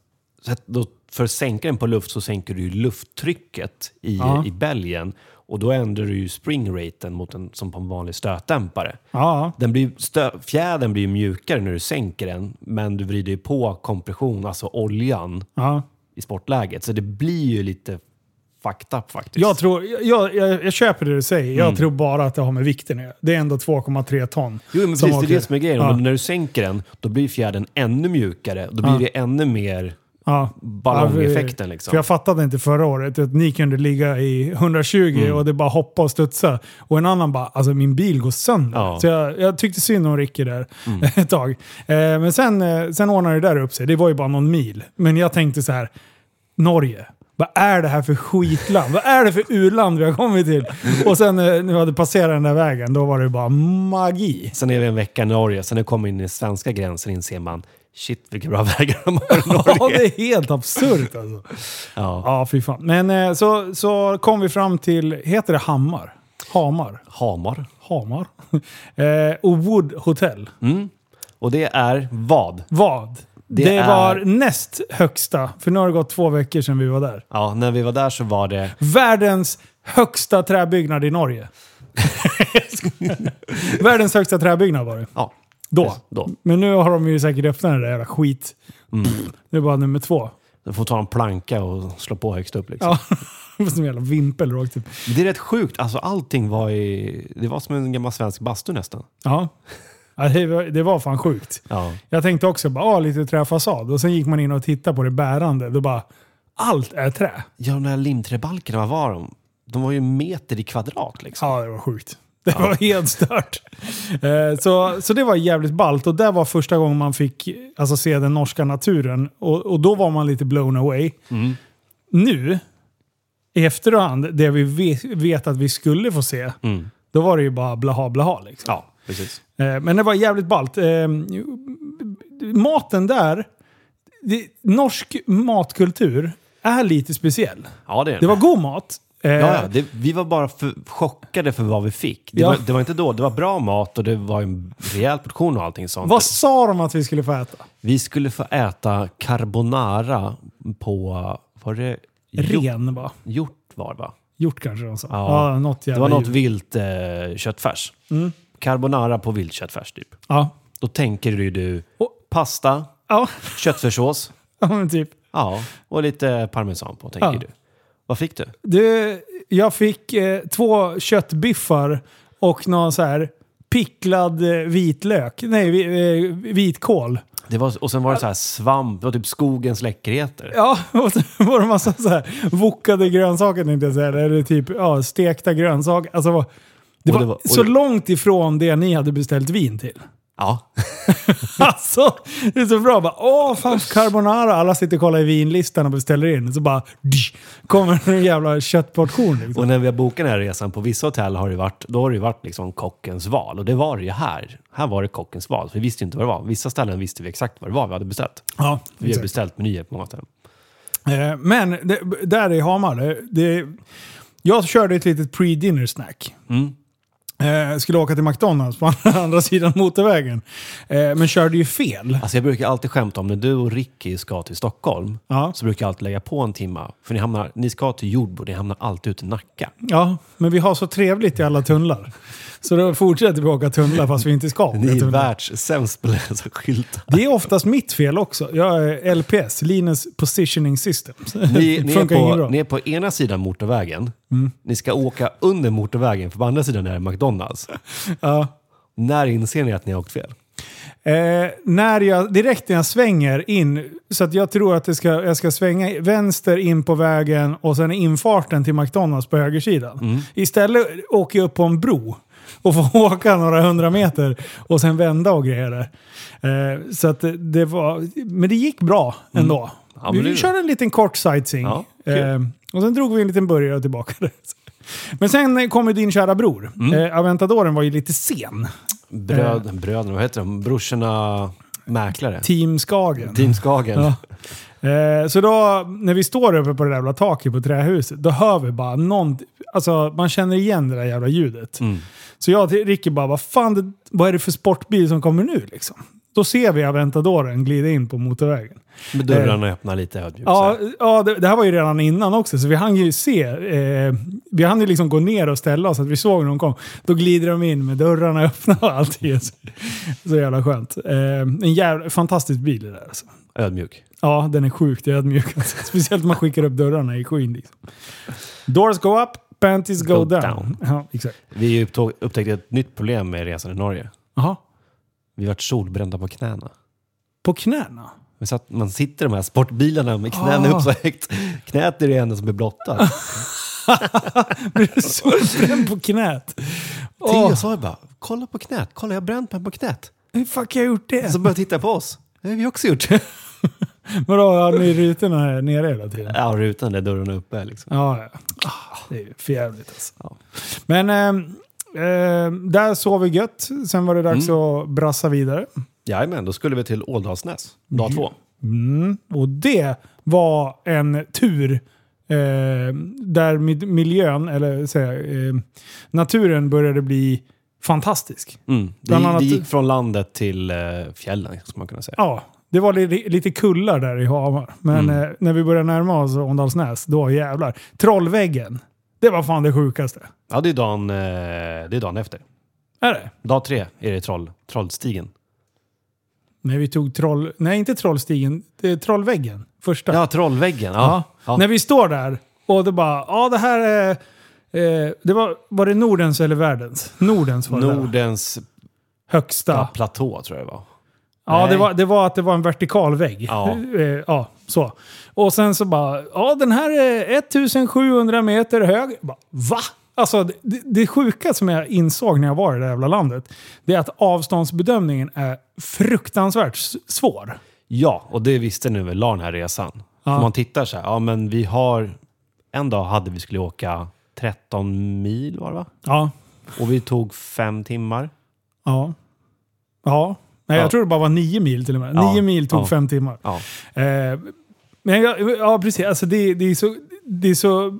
Speaker 2: så att då, för att sänka den på luft så sänker du ju lufttrycket i,
Speaker 1: Ja.
Speaker 2: i bälgen. Och då ändrar du ju springraten mot en, som på en vanlig stötdämpare.
Speaker 1: ja,
Speaker 2: Den blir stö- fjädern blir ju mjukare när du sänker den, men du vrider ju på kompression, alltså oljan,
Speaker 1: ja.
Speaker 2: i sportläget. Så det blir ju lite fucked up faktiskt. Mm.
Speaker 1: Jag, tror, jag, jag, jag köper det du säger. Jag tror bara att det har med vikten att göra. Det är ändå 2,3 ton.
Speaker 2: Jo, men
Speaker 1: som
Speaker 2: precis. Det
Speaker 1: åker.
Speaker 2: är det som är grejen.
Speaker 1: Ja.
Speaker 2: Men när du sänker den, då blir fjädern ännu mjukare. Då blir
Speaker 1: Ja.
Speaker 2: det ännu mer
Speaker 1: Ja.
Speaker 2: ballongeffekten.
Speaker 1: För
Speaker 2: Liksom.
Speaker 1: jag fattade inte förra året att ni kunde ligga i 120
Speaker 2: Mm.
Speaker 1: och det bara hoppa och studsa. Och en annan bara, alltså min bil går sönder.
Speaker 2: Ja. Mm.
Speaker 1: Så jag, jag tyckte synd om Ricky där [LAUGHS] ett tag. Eh, men sen, eh, sen ordnade det där upp sig. Det var ju bara någon mil. Men jag tänkte så här, Norge. Vad är det här för skitland? Vad är det för u-land vi har kommit
Speaker 2: [LAUGHS]
Speaker 1: till? Och sen eh, när vi hade passerat den där vägen, då var det bara magi.
Speaker 2: Sen är vi en vecka i Norge. Sen när vi kommer in i svenska gränsen inser man shit vilka bra [LAUGHS] vägar de har i Norge.
Speaker 1: [LAUGHS] Ja, det är helt absurt alltså.
Speaker 2: Ja.
Speaker 1: Ja, fy fan. Men eh, så, så kom vi fram till, heter det Hammar? Hamar?
Speaker 2: Hamar.
Speaker 1: Hamar? [LAUGHS] eh, och Wood Hotel.
Speaker 2: Och det är vad?
Speaker 1: Vad? Mm. Det,
Speaker 2: Det är-
Speaker 1: var näst högsta, för nu har det gått två veckor sedan vi var där.
Speaker 2: Ja, när vi var där så var det...
Speaker 1: Världens högsta träbyggnad i [LAUGHS] Norge. Världens högsta träbyggnad var det.
Speaker 2: Ja,
Speaker 1: Då.
Speaker 2: då.
Speaker 1: Men nu har de ju säkert öppnat den där jävla skit. Det är bara nummer två. [LAUGHS]
Speaker 2: Du får ta en planka och slå på högst upp. Liksom.
Speaker 1: Ja. Som en jävla vimpel rakt upp.
Speaker 2: Men Det är rätt sjukt. Alltså, allting var i... Det var som en gammal svensk bastu nästan.
Speaker 1: Ja. Ja, det var- det var fan sjukt.
Speaker 2: Ja.
Speaker 1: Jag tänkte också bara, ah, lite träfasad. Och sen gick man in och tittade på det bärande. Då bara, allt är trä.
Speaker 2: Ja, de där limträbalkarna, vad var de? De var ju meter i kvadrat liksom.
Speaker 1: Ja, det var sjukt. [LAUGHS] Det var helt stört. Eh, Så, så det var jävligt ballt. Och där var första gången man fick alltså, se den norska naturen. Och, och då var man lite blown away. Nu, i efterhand, det vi vet, vet att vi skulle få se,
Speaker 2: Mm.
Speaker 1: då var det ju bara blaha blaha. Liksom.
Speaker 2: Ja, precis.
Speaker 1: Eh, Men det var jävligt ballt. Eh, Maten där, det, norsk matkultur är lite speciell.
Speaker 2: Ja, det är den.
Speaker 1: Det var god mat. Eh,
Speaker 2: Ja, ja, det, vi var bara för, chockade för vad vi fick. Det,
Speaker 1: Ja.
Speaker 2: var, det var inte då, det var bra mat och det var en rejäl portion och allting sånt.
Speaker 1: Vad sa de att vi skulle få äta?
Speaker 2: Vi skulle få äta carbonara på, var det hjort,
Speaker 1: Ren va?
Speaker 2: hjort var det, va?
Speaker 1: Gjort kanske de sa. Ja,
Speaker 2: Ja.
Speaker 1: något
Speaker 2: Det
Speaker 1: jävla
Speaker 2: var något
Speaker 1: djur.
Speaker 2: vilt eh, köttfärs.
Speaker 1: Mm.
Speaker 2: Carbonara på vilt köttfärs typ.
Speaker 1: Ja.
Speaker 2: Då tänker ju du
Speaker 1: Och-
Speaker 2: pasta,
Speaker 1: Ja, [LAUGHS]
Speaker 2: köttfärssås,
Speaker 1: ja, men typ.
Speaker 2: ja, och lite parmesan på tänker
Speaker 1: Ja.
Speaker 2: du. Vad fick du?
Speaker 1: Du, jag fick eh, två köttbiffar och någon så här picklad eh, vitlök. Nej, vi, eh, vitkål.
Speaker 2: Det var, och sen var det så här svamp, det var typ skogens läckerheter.
Speaker 1: Ja, [LAUGHS] och så var det massa så här vokade grönsaker tänkte jag säga. Eller typ ja, stekta grönsaker. Alltså, det var, det
Speaker 2: Och
Speaker 1: var,
Speaker 2: det var- och
Speaker 1: så
Speaker 2: det-
Speaker 1: långt ifrån det ni hade beställt vin till. [LAUGHS]
Speaker 2: Ja.
Speaker 1: Alltså, det är så bra. Bara, Åh, fan carbonara. Alla sitter och kollar i vinlistan och beställer in. Så bara dsch, kommer en jävla köttportion. Liksom.
Speaker 2: Och när vi har bokat den här resan, på vissa hotell har det varit, då har det ju varit liksom kockens val. Och det var det ju här. Här var det kockens val. För vi visste ju inte vad det var. Vissa ställen visste vi exakt vad det var vi hade beställt.
Speaker 1: Ja,
Speaker 2: Vi har
Speaker 1: exakt.
Speaker 2: beställt menyer på många ställen.
Speaker 1: Eh, Men det, där i Hamar, det, det, jag körde ett litet pre-dinner snack. Eh, skulle åka till McDonalds på [LAUGHS] andra sidan motorvägen. Eh, men körde ju fel.
Speaker 2: Alltså jag brukar alltid skämta om när du och Ricky ska till Stockholm,
Speaker 1: Ja.
Speaker 2: så brukar jag alltid lägga på en timma. För ni, hamnar, ni ska till Jordbro, ni hamnar alltid ute i Nacka.
Speaker 1: Ja, men vi har så trevligt i alla tunnlar. Så då fortsätter vi åka tunnlar fast vi inte ska åka
Speaker 2: Ni är
Speaker 1: tunnlar.
Speaker 2: världssämst på att läsa skyltar.
Speaker 1: Det är oftast mitt fel också. Jag är LPS, Linus Positioning System.
Speaker 2: [LAUGHS] Ni,
Speaker 1: Det
Speaker 2: ni, är
Speaker 1: funkar inget bra. Mm.
Speaker 2: på, ni är på ena sidan motorvägen. Ni ska åka under motorvägen, för på andra sidan är det McDonalds.
Speaker 1: Ja.
Speaker 2: När inser ni att ni har åkt fel?
Speaker 1: Eh, när jag, direkt när jag svänger in, så att jag tror att det ska, jag ska svänga i- vänster in på vägen och sen infarten till McDonalds på högersidan.
Speaker 2: Mm.
Speaker 1: Istället åker jag upp på en bro och får [LAUGHS] åka några hundra meter och sen vända och grejer. där. Eh, så att det, det var, men det gick bra ändå.
Speaker 2: Mm. Ja,
Speaker 1: vi
Speaker 2: men det-
Speaker 1: körde en liten kort sightseeing.
Speaker 2: Ja, kul.
Speaker 1: eh, och sen drog vi en liten burgare och tillbaka. [LAUGHS] Men sen eh, kom ju din kära bror.
Speaker 2: Mm.
Speaker 1: Eh, Aventadoren var ju lite sen.
Speaker 2: Bröd,
Speaker 1: Eh.
Speaker 2: Bröderna, vad heter de? Brorsorna Mäklare?
Speaker 1: Team Skagen.
Speaker 2: Team Skagen.
Speaker 1: Ja. Eh, så då, när vi står uppe på det där jävla taket på trähuset, då hör vi bara någon... Alltså, man känner igen det där jävla ljudet. Så jag till Ricky bara, vad fan, det, vad är det för sportbil som kommer nu liksom? Då ser vi Aventadoren glida in på motorvägen.
Speaker 2: Med dörrarna öppna lite ödmjukt.
Speaker 1: Eh. Ja,
Speaker 2: så
Speaker 1: ja det, det här var ju redan innan också, så vi hann ju se. Eh, vi hann ju liksom gå ner och ställa oss, så att vi såg när de kom. Då glider de in med dörrarna [LAUGHS] öppna och allting. Så, så jävla skönt. Eh, en jävla, fantastisk bil det där alltså.
Speaker 2: här. Ödmjuk.
Speaker 1: Ja, den är sjukt ödmjuk. [LAUGHS] Alltså. Speciellt när man skickar upp dörrarna i skyn. Liksom. Doors go up, panties go,
Speaker 2: Go
Speaker 1: down.
Speaker 2: down.
Speaker 1: [LAUGHS] Ja, exakt.
Speaker 2: Vi upptog- upptäckte ett nytt problem med resan i Norge.
Speaker 1: Jaha.
Speaker 2: Vi vart solbrända på knäna.
Speaker 1: På knäna? [LAUGHS]
Speaker 2: Men så att man sitter i de här sportbilarna med knäna
Speaker 1: Ah.
Speaker 2: upp så högt. Knät är det enda som är blottat.
Speaker 1: Blir du solbränd på knät?
Speaker 2: Oh.
Speaker 1: Åh,
Speaker 2: Jag sa ju bara, kolla på knät. Kolla, jag har bränt mig på knät.
Speaker 1: hur fuck har jag gjort det?
Speaker 2: Så började titta på oss. Det har vi också gjort.
Speaker 1: Vadå, har ni rutorna här nere hela tiden?
Speaker 2: ja, rutan där dörren är uppe liksom.
Speaker 1: Ja, ja. Ah, det är ju för jävligt alltså.
Speaker 2: Ja.
Speaker 1: Men ehm, ehm, där sov vi gött. Sen var det dags
Speaker 2: Mm.
Speaker 1: att brassa vidare.
Speaker 2: Jajamän, då skulle vi till Åldalsnäs. Dag två.
Speaker 1: Mm. Och det var en tur eh, där mid- miljön, eller säga, eh, naturen började bli fantastisk.
Speaker 2: Mm. Det,
Speaker 1: Bland annat-
Speaker 2: det gick från landet till eh, fjällen, skulle man kunna säga.
Speaker 1: Ja, det var li- lite kullar där i Hamar. Men eh, när vi började närma oss Åndalsnäs, då jävlar. Trollväggen, det var fan det sjukaste.
Speaker 2: Ja, det är dagen, eh, det är dagen efter.
Speaker 1: Är det?
Speaker 2: Dag tre är det troll, Trollstigen.
Speaker 1: När vi tog troll... Nej, inte trollstigen. Det är trollväggen. Första.
Speaker 2: Ja, Trollväggen.
Speaker 1: Ja.
Speaker 2: Ja. Ja.
Speaker 1: När vi står där och det bara, ja det här är... Eh, det var, var det Nordens eller världens? Nordens var det där.
Speaker 2: Nordens
Speaker 1: högsta.
Speaker 2: ja,
Speaker 1: Ja,
Speaker 2: platå, tror jag det var.
Speaker 1: det,
Speaker 2: Nej.
Speaker 1: var, det var att det var en vertikal vägg.
Speaker 2: Ja.
Speaker 1: [LAUGHS] Eh, ja, så. Och sen så bara, ja den här är 1700 meter hög. Jag Bara, Va? Alltså det, det sjuka som jag insåg när jag var i det här jävla landet, det är att avståndsbedömningen är fruktansvärt s- svår.
Speaker 2: Ja, och det visste ni väl la den här resan.
Speaker 1: Ja.
Speaker 2: Om man tittar så här, ja men vi har... En dag hade vi skulle åka 13 mil var det va?
Speaker 1: Ja.
Speaker 2: Och vi tog fem timmar.
Speaker 1: Ja. Ja. Nej,
Speaker 2: Ja.
Speaker 1: jag tror det bara var nio mil till och med.
Speaker 2: Ja.
Speaker 1: Nio mil tog
Speaker 2: Ja.
Speaker 1: fem timmar.
Speaker 2: Ja.
Speaker 1: Eh, Men jag, ja, precis. Alltså det, det, är så, det är så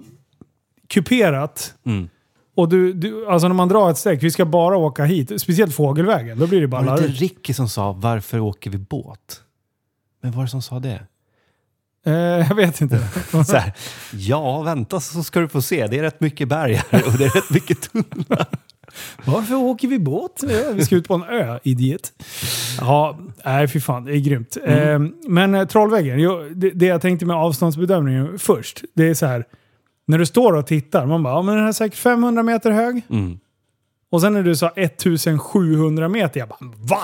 Speaker 1: kuperat.
Speaker 2: Mm.
Speaker 1: Och du, du, alltså när man drar ett streck, vi ska bara åka hit. Speciellt fågelvägen, då blir det bara
Speaker 2: Var det
Speaker 1: larvigt.
Speaker 2: inte Ricky som sa “Varför åker vi båt?” Men var det som sa det?
Speaker 1: Eh, jag vet inte.
Speaker 2: Så här, ja, vänta så ska du få se. Det är rätt mycket berg här och det är rätt mycket tunnlar.
Speaker 1: [LAUGHS] Varför åker vi båt? Ja, Vi ska ut på en ö, idiot. Ja, nej fy fan, det är grymt. Eh, men eh, Trollvägen, jo, det, det jag tänkte med avståndsbedömningen först, det är så här. När du står och tittar, man bara, ja, men den här är säkert 500 meter hög.
Speaker 2: Mm.
Speaker 1: Och sen när du sa 1700 meter, jag bara va?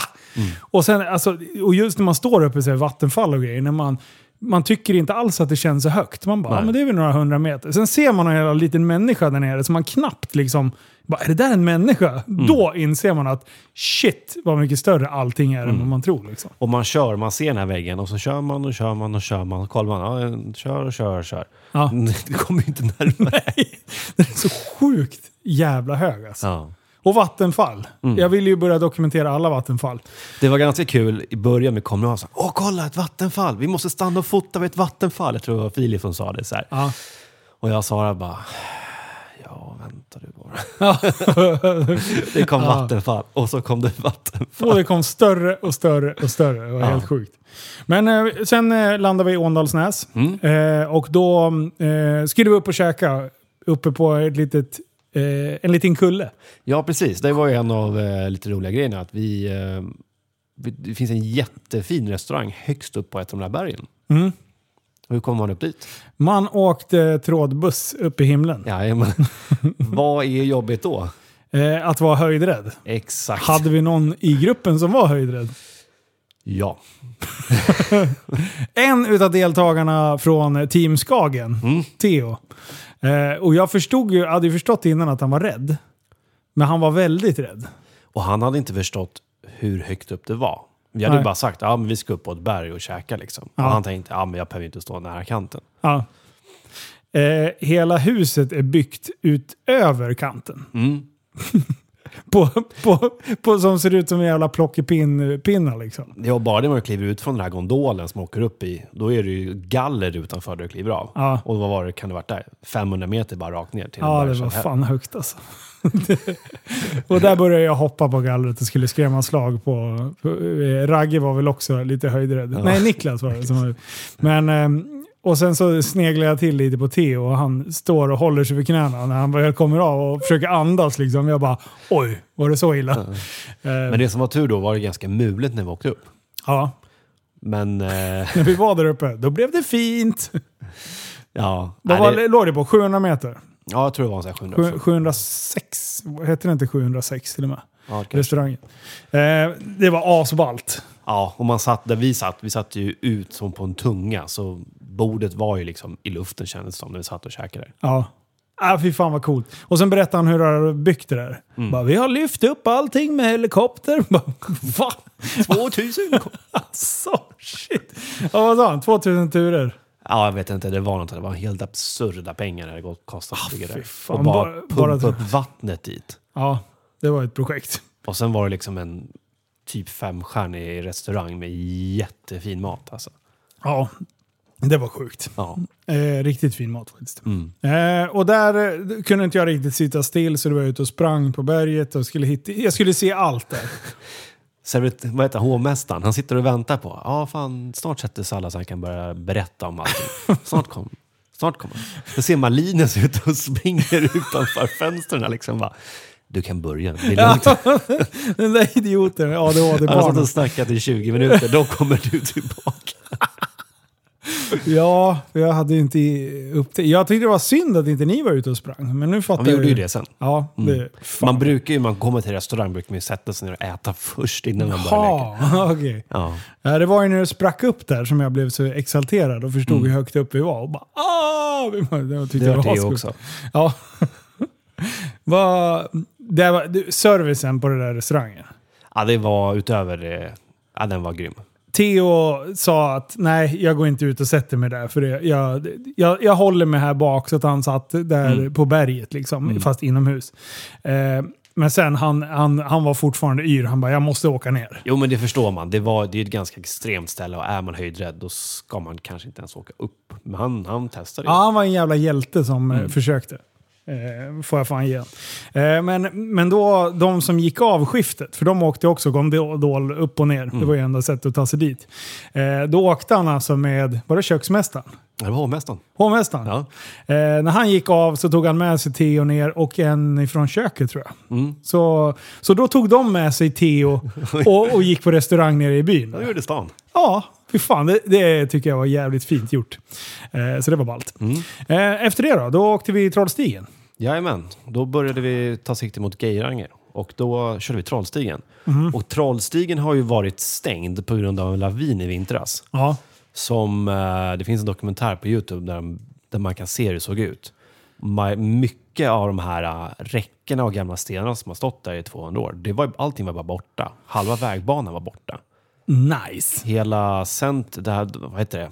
Speaker 1: Och, sen, alltså, och just när man står uppe i så här vattenfall och grejer, när man, man tycker inte alls att det känns så högt. Man bara,
Speaker 2: Nej.
Speaker 1: ja, men det är väl några hundra meter. Sen ser man en jävla liten människa där nere, så man knappt liksom, bara, är det där en människa?
Speaker 2: Mm.
Speaker 1: Då inser man att shit vad mycket större allting är
Speaker 2: Mm.
Speaker 1: än vad man tror. Liksom. [LAUGHS]
Speaker 2: Och man kör, man ser den här väggen och så kör man och kör man och kör man. Och kollar man, ja, kör och kör och kör.
Speaker 1: Ja.
Speaker 2: [LAUGHS] Det kommer ju inte närmare.
Speaker 1: Det är så sjukt jävla hög alltså.
Speaker 2: Ja. Mm.
Speaker 1: Och vattenfall. Jag vill ju börja dokumentera alla vattenfall.
Speaker 2: Det var ganska kul i början med kameran. Så här, Åh, kolla ett vattenfall! Vi måste stanna och fota vid ett vattenfall. Jag tror det var Filip som sa det. Så här.
Speaker 1: Ja.
Speaker 2: Och jag sa det bara, ja, vänta du bara. [LAUGHS]
Speaker 1: Ja.
Speaker 2: Det kom vattenfall och så kom det vattenfall.
Speaker 1: Och det kom större och större och större. Det var
Speaker 2: Ja.
Speaker 1: helt sjukt. Men eh, sen eh, landade vi i Åndalsnäs.
Speaker 2: Mm.
Speaker 1: Eh, och då eh, skulle vi upp och käka uppe på ett litet, eh, en liten kulle.
Speaker 2: Ja, precis. Det var ju en av eh, lite roliga grejerna. Att vi, eh, vi, det finns en jättefin restaurang högst upp på ett av de där bergen.
Speaker 1: Mm.
Speaker 2: Och hur kommer man upp dit?
Speaker 1: Man åkte trådbuss upp i himlen.
Speaker 2: Ja, men, [LAUGHS] vad är jobbigt då?
Speaker 1: Eh, att vara höjdrädd.
Speaker 2: Exakt.
Speaker 1: Hade vi någon i gruppen som var höjdrädd?
Speaker 2: Ja.
Speaker 1: En utav deltagarna från Team Skagen, Theo. Eh, och jag förstod ju, hade ju förstått innan att han var rädd. Men han var väldigt rädd.
Speaker 2: Och han hade inte förstått hur högt upp det var. Vi hade
Speaker 1: Nej.
Speaker 2: ju bara sagt att ah, men vi ska upp på ett berg och käka. Liksom.
Speaker 1: Ja.
Speaker 2: Och han tänkte att ah, men jag behöver inte stå nära kanten.
Speaker 1: Ja. Eh, hela huset är byggt utöver kanten.
Speaker 2: Mm.
Speaker 1: På, på, på, som ser ut som en jävla plockepinnar liksom.
Speaker 2: Ja, bara det man kliver ut från den här gondolen som man åker upp i, då är det ju galler utanför där du kliver av.
Speaker 1: Ja.
Speaker 2: Och vad var det, kan det varit där? 500 meter bara rakt ner till en
Speaker 1: Ja, det
Speaker 2: bergs-
Speaker 1: var fan högt alltså. [LAUGHS] och där började jag hoppa på gallret och skulle skrämma slag på... på eh, Ragge var väl också lite höjdrädd. Nej, Niklas var det. Som var, men, ehm, och sen så sneglade jag till lite på Theo och han står och håller sig för knäna när han väl kommer av och försöker andas. Liksom. Jag bara oj, var det så illa? Eh,
Speaker 2: Men det som var tur då var det ganska mulet när vi åkte upp.
Speaker 1: ja, [LAUGHS]
Speaker 2: Men eh,
Speaker 1: När vi var där uppe, då blev det fint.
Speaker 2: ja,
Speaker 1: Vad
Speaker 2: nej,
Speaker 1: var,
Speaker 2: det,
Speaker 1: låg det på? 700 meter?
Speaker 2: ja, jag tror det var så här 700.
Speaker 1: Sju- 706? Hette det inte 706 till och med?
Speaker 2: Ja, det kanske-
Speaker 1: Restaurangen. Eh, det var asballt.
Speaker 2: ja, och man satt där vi satt. Vi satt ju ut som på en tunga, så bordet var ju liksom i luften kändes det som när vi satt och käkade.
Speaker 1: Ja. Ah, fy fan vad coolt. Och sen berättade han hur han hade byggt det där.
Speaker 2: Mm.
Speaker 1: Bara, vi har lyft upp allting med helikopter. [LAUGHS] Bara, Va?
Speaker 2: 2000
Speaker 1: [LAUGHS] Alltså, shit. Ja, vad sa han? 2000 turer?
Speaker 2: Ja, jag vet inte. Det var något. Det var helt absurda pengar det hade gått- kostat att bygga
Speaker 1: Ah, fy
Speaker 2: det.
Speaker 1: fan.
Speaker 2: Och bara
Speaker 1: Bara-
Speaker 2: pumpa
Speaker 1: bara-
Speaker 2: upp vattnet dit.
Speaker 1: Ja, det var ett projekt.
Speaker 2: Och sen var det liksom en typ femstjärnig restaurang med jättefin mat. Alltså.
Speaker 1: Ja, det var sjukt.
Speaker 2: Ja.
Speaker 1: Eh, riktigt fin mat faktiskt.
Speaker 2: Mm.
Speaker 1: Eh, och där eh, kunde inte jag riktigt sitta still så då var jag ute och sprang på berget och skulle hitta... Jag skulle se allt
Speaker 2: [LAUGHS]
Speaker 1: där.
Speaker 2: Servet, vad heter han, hovmästaren, han sitter och väntar på. Ja, fan, snart sätter sig alla så han kan börja berätta om [LAUGHS] allting. Snart kommer Snart kommer han. Då ser man Linus ute och springer utanför fönstren. Liksom bara, du kan börja, det är lugnt.
Speaker 1: Den där idioten med
Speaker 2: Han har satt
Speaker 1: ADHD-barnen.
Speaker 2: och snackat i 20 minuter, då kommer du tillbaka.
Speaker 1: Ja, för jag hade ju inte upptäckt... Jag tyckte det var synd att inte ni var ute och sprang. Men nu
Speaker 2: Ja,
Speaker 1: fattar
Speaker 2: vi
Speaker 1: jag
Speaker 2: gjorde ju det Mm. sen.
Speaker 1: Ja, det...
Speaker 2: Man brukar ju, när man kommer till restaurang, brukar man ju sätta sig ner och äta först innan man börjar leka.
Speaker 1: Ha, okej.
Speaker 2: Ja.
Speaker 1: Ja, det var ju när det sprack upp där som jag blev så exalterad och förstod hur högt upp vi var. Och bara ah! Jag tyckte
Speaker 2: Mm. Det
Speaker 1: det
Speaker 2: var
Speaker 1: var
Speaker 2: det
Speaker 1: ascoolt.
Speaker 2: också.
Speaker 1: Ja. [LAUGHS] Vad... Det var, du, servicen på den där restaurangen.
Speaker 2: Ja, det var utöver det. Ja, den var grym.
Speaker 1: Theo sa att nej, jag går inte ut och sätter mig där. För det, jag, jag, jag håller mig här bak. Så att han satt där på berget, liksom, fast inomhus. Eh, Men sen, han, han, han var fortfarande yr. Han bara, jag måste åka ner.
Speaker 2: Jo, men det förstår man. Det, var, det är ett ganska extremt ställe och är man höjdrädd då ska man kanske inte ens åka upp. Men han, han testade ju.
Speaker 1: Ja, han var en jävla hjälte som eh, försökte. Eh, får jag fan ge eh, Men, men då, de som gick av skiftet, för de åkte också gondol upp och ner. Det var ju enda sättet att ta sig dit. Eh, då åkte han alltså med, var det köksmästaren?
Speaker 2: Det var hovmästaren.
Speaker 1: Hovmästaren.
Speaker 2: Ja.
Speaker 1: Eh, när han gick av så tog han med sig Theo ner och en ifrån köket tror jag. Så, så då tog de med sig Theo och, och gick på restaurang nere i byn.
Speaker 2: Nu är det stan.
Speaker 1: Ja, fy fan. Det, det tycker jag var jävligt fint gjort. Eh, så det var ballt.
Speaker 2: Mm.
Speaker 1: Eh, efter det då, då åkte vi Trollstigen.
Speaker 2: Jajamän. Då började vi ta sikte mot Geiranger och då körde vi Trollstigen. Och Trollstigen har ju varit stängd på grund av en lavin i vintras.
Speaker 1: Ja.
Speaker 2: Som, eh, det finns en dokumentär på Youtube där, där man kan se hur det såg ut. Ma- Mycket av de här eh, räckena och gamla stenarna som har stått där i 200 år, det var, allting var bara borta. Halva vägbanan var borta.
Speaker 1: Nice.
Speaker 2: Hela cent, det här, vad heter det?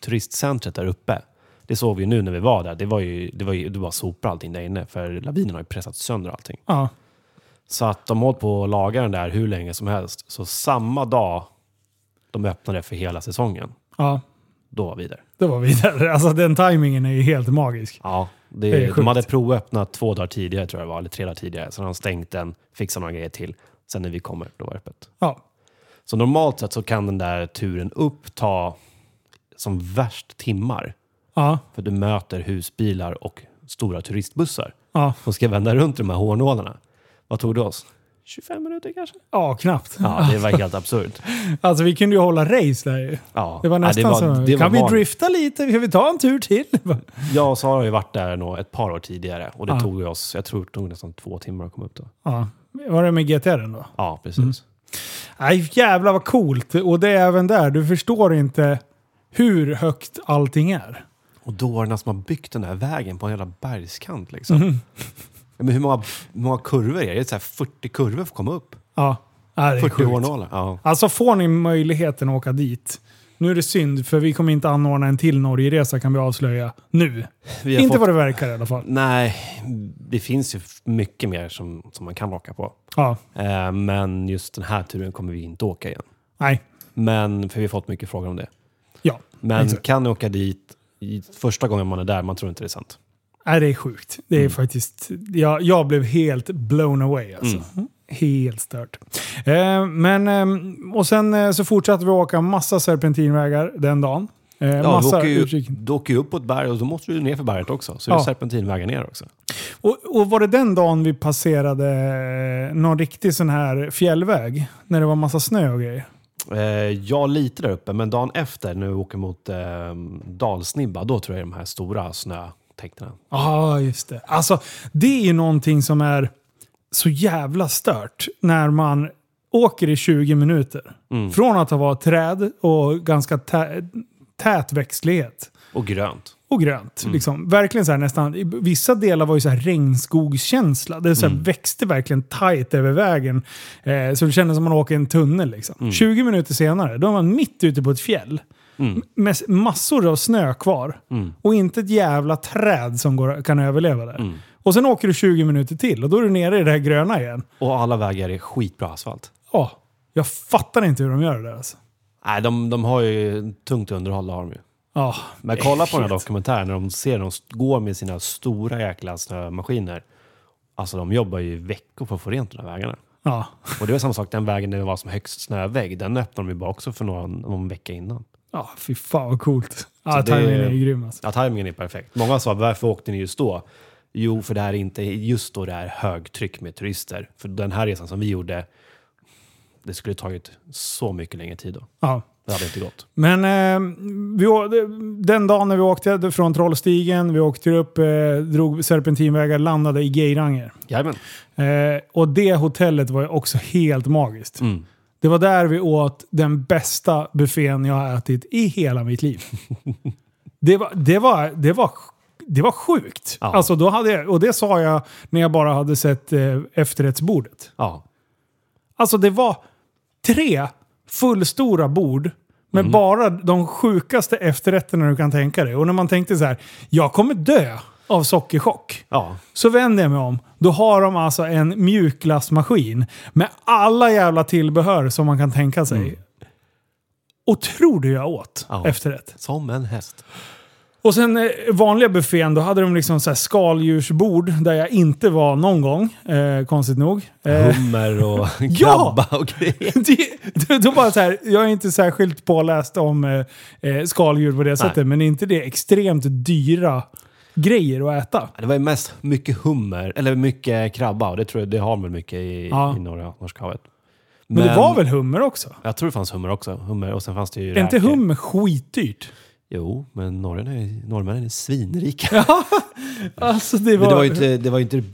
Speaker 2: turistcentret där uppe, det såg vi ju nu när vi var där. Det var ju, det var ju det var sopor allting där inne, för lavinen har ju pressat sönder allting.
Speaker 1: Ja.
Speaker 2: Så att de hållit på att laga den där hur länge som helst. Så samma dag de öppnade för hela säsongen,
Speaker 1: ja,
Speaker 2: då var vi där.
Speaker 1: då var vi där. [LAUGHS] Alltså den timingen är ju helt magisk.
Speaker 2: Ja, det,
Speaker 1: Det är sjukt.
Speaker 2: de hade provöppnat två dagar tidigare, tror jag det var, eller tre dagar tidigare. Sen har de stängt den, fixat några grejer till. Sen när vi kommer, då var det öppet.
Speaker 1: Ja.
Speaker 2: Så normalt sett så kan den där turen upp ta som värst timmar.
Speaker 1: Ja.
Speaker 2: För du möter husbilar och stora turistbussar
Speaker 1: Ja.
Speaker 2: som ska vända runt de här hårnålarna. Vad tog det oss? 25 minuter kanske?
Speaker 1: ja, knappt.
Speaker 2: Ja, det var helt absurt.
Speaker 1: Alltså vi kunde ju hålla race där ju.
Speaker 2: Ja.
Speaker 1: [LAUGHS] Det var nästan
Speaker 2: ja,
Speaker 1: så.
Speaker 2: det
Speaker 1: kan
Speaker 2: var
Speaker 1: vi
Speaker 2: magiskt.
Speaker 1: drifta lite? Kan vi ta en tur till?
Speaker 2: Jag och Sara har ju varit där nog ett par år tidigare och det
Speaker 1: Ja.
Speaker 2: tog ju oss, jag tror det tog nästan två timmar att komma upp då.
Speaker 1: Ja. Var det med GTR då?
Speaker 2: Ja, precis.
Speaker 1: Mm. Nej, jävlar vad coolt. Och det är även där. Du förstår inte hur högt allting är.
Speaker 2: Och dårarna som har byggt den här vägen på en jävla bergskant liksom.
Speaker 1: Mm.
Speaker 2: Ja, men hur många, hur många kurvor är det? Det är så här 40 kurvor för att komma upp.
Speaker 1: Ja, Ja, det är
Speaker 2: 40
Speaker 1: sjukt.
Speaker 2: hårnålar. Ja.
Speaker 1: Alltså får ni möjligheten att åka dit. Nu är det synd, för vi kommer inte anordna en till Norgeresa kan vi avslöja nu.
Speaker 2: Vi har
Speaker 1: Inte
Speaker 2: fått-
Speaker 1: vad det verkar i alla fall.
Speaker 2: Nej, det finns ju mycket mer som, som man kan åka på.
Speaker 1: Ja,
Speaker 2: Eh, men just den här turen kommer vi inte åka igen.
Speaker 1: nej.
Speaker 2: Men, för vi har fått mycket frågor om det.
Speaker 1: Ja,
Speaker 2: Men
Speaker 1: Exakt.
Speaker 2: kan ni åka dit i- första gången man är där, man tror inte det är sant.
Speaker 1: nej, Äh, det är sjukt. Det är
Speaker 2: Mm.
Speaker 1: faktiskt... Jag, jag blev helt blown away alltså.
Speaker 2: Mm.
Speaker 1: Helt stört. Eh, men, eh, och sen eh, så fortsatte vi åka massa serpentinvägar den dagen. Eh,
Speaker 2: Ja, du,
Speaker 1: massa
Speaker 2: åker ju,
Speaker 1: utkik.
Speaker 2: du åker ju upp på ett berg och då måste du ner för berget också. Så
Speaker 1: Ja.
Speaker 2: det är serpentinvägar ner också.
Speaker 1: Och, och var det den dagen vi passerade eh, någon riktig sån här fjällväg? När det var massa snö och grejer?
Speaker 2: Eh, ja, lite där uppe, men dagen efter när vi åker mot eh, Dalsnibba, då tror jag det är de här stora snötäckterna.
Speaker 1: Ja, just det. Alltså, det är ju någonting som är så jävla stört när man åker i 20 minuter. Från att ha varit träd och ganska tä- tät växtlighet
Speaker 2: Och grönt.
Speaker 1: och grönt. Liksom. Verkligen så här nästan, i vissa delar var ju så här regnskogskänsla. Det så här växte verkligen tajt över vägen. Eh, så det kändes som man åker i en tunnel. Liksom. 20 minuter senare, då är man mitt ute på ett fjäll. Med s- massor av snö kvar. Och inte ett jävla träd som går, kan överleva där. Och sen åker du 20 minuter till och då är du nere i det här gröna igen.
Speaker 2: Och alla vägar är skitbra asfalt.
Speaker 1: Ja, jag fattar inte hur de gör det där alltså.
Speaker 2: Nej, de, de har ju tungt underhåll, har de ju.
Speaker 1: Ja,
Speaker 2: Men kolla på den här
Speaker 1: Shit.
Speaker 2: dokumentären när de ser dem gå med sina stora jäkla snömaskiner. Alltså de jobbar ju i veckor för att få rent de här vägarna.
Speaker 1: ja.
Speaker 2: Och det var samma sak den vägen där det var som högst snövägg. Den öppnade de ju bara också för någon, någon vecka innan.
Speaker 1: ja fy fan vad coolt. Ja,
Speaker 2: det är-
Speaker 1: tajmingen är ju grym alltså.
Speaker 2: Ja, tajmingen är perfekt. Många sa varför åkte ni just då? Jo, för det här är inte just då det är högtryck med turister. För den här resan som vi gjorde, det skulle tagit så mycket längre tid då.
Speaker 1: Ja.
Speaker 2: Det hade inte gått.
Speaker 1: Men eh, vi, å- den dagen när vi åkte från Trollstigen, vi åkte upp, eh, drog serpentinvägar, landade i Geiranger.
Speaker 2: Jajamän.
Speaker 1: Eh, och det hotellet var ju också helt magiskt.
Speaker 2: Mm.
Speaker 1: Det var där vi åt den bästa buffén jag har ätit i hela mitt liv. det, var, det, var, det, var, det var sjukt.
Speaker 2: Ja.
Speaker 1: Alltså, då hade jag, och det sa jag när jag bara hade sett eh, efterrättsbordet.
Speaker 2: Ja.
Speaker 1: Alltså det var tre fullstora bord med bara de sjukaste efterrätterna du kan tänka dig. Och när man tänkte så här, jag kommer dö av sockerchock.
Speaker 2: Ja.
Speaker 1: Så vänder jag mig om. Då har de alltså en mjukglassmaskin med alla jävla tillbehör som man kan tänka sig. Och tror du jag åt
Speaker 2: Ja.
Speaker 1: efterrätt.
Speaker 2: Som en häst.
Speaker 1: Och sen eh, vanliga buffén, då hade de liksom så här skaldjursbord där jag inte var någon gång, eh, konstigt nog. Eh,
Speaker 2: Hummer [LAUGHS] och
Speaker 1: Ja!
Speaker 2: krabba och grejer.
Speaker 1: [LAUGHS] det, det, då bara så här, jag är inte särskilt påläst om eh, eh, skaldjur på det sättet, men är inte det extremt dyra grejer att äta?
Speaker 2: Det var ju mest mycket hummer, eller mycket krabba. Och det tror jag, det har man väl mycket i,
Speaker 1: Ja.
Speaker 2: i norra Norska havet.
Speaker 1: Men, det var väl hummer också?
Speaker 2: Jag tror det fanns hummer också. Hummer, och sen fanns det ju
Speaker 1: Är inte
Speaker 2: räkor.
Speaker 1: hummer skitdyrt?
Speaker 2: Jo, men norren är, norrmännen är svinrika.
Speaker 1: Alltså det var...
Speaker 2: Men det var ju inte det, var ju inte det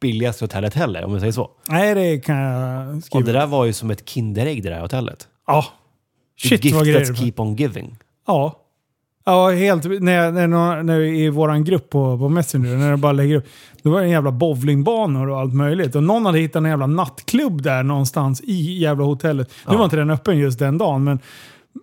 Speaker 2: billigaste hotellet heller, om man säger så.
Speaker 1: Nej, det kan jag
Speaker 2: Och
Speaker 1: skriva.
Speaker 2: det där var ju som ett Kinderägg, det där hotellet.
Speaker 1: Ja. Shit
Speaker 2: Gift
Speaker 1: vad grejer
Speaker 2: that's
Speaker 1: det var.
Speaker 2: keep on giving.
Speaker 1: Ja. Ja, helt. När, jag- när, någon- när vi, I vår grupp på, på Messenger, när jag bara lägger upp. Det var en jävla bowlingbanor och allt möjligt. Och någon hade hittat en jävla nattklubb där någonstans i jävla hotellet. Nu
Speaker 2: Ja.
Speaker 1: var inte den öppen just den dagen, men,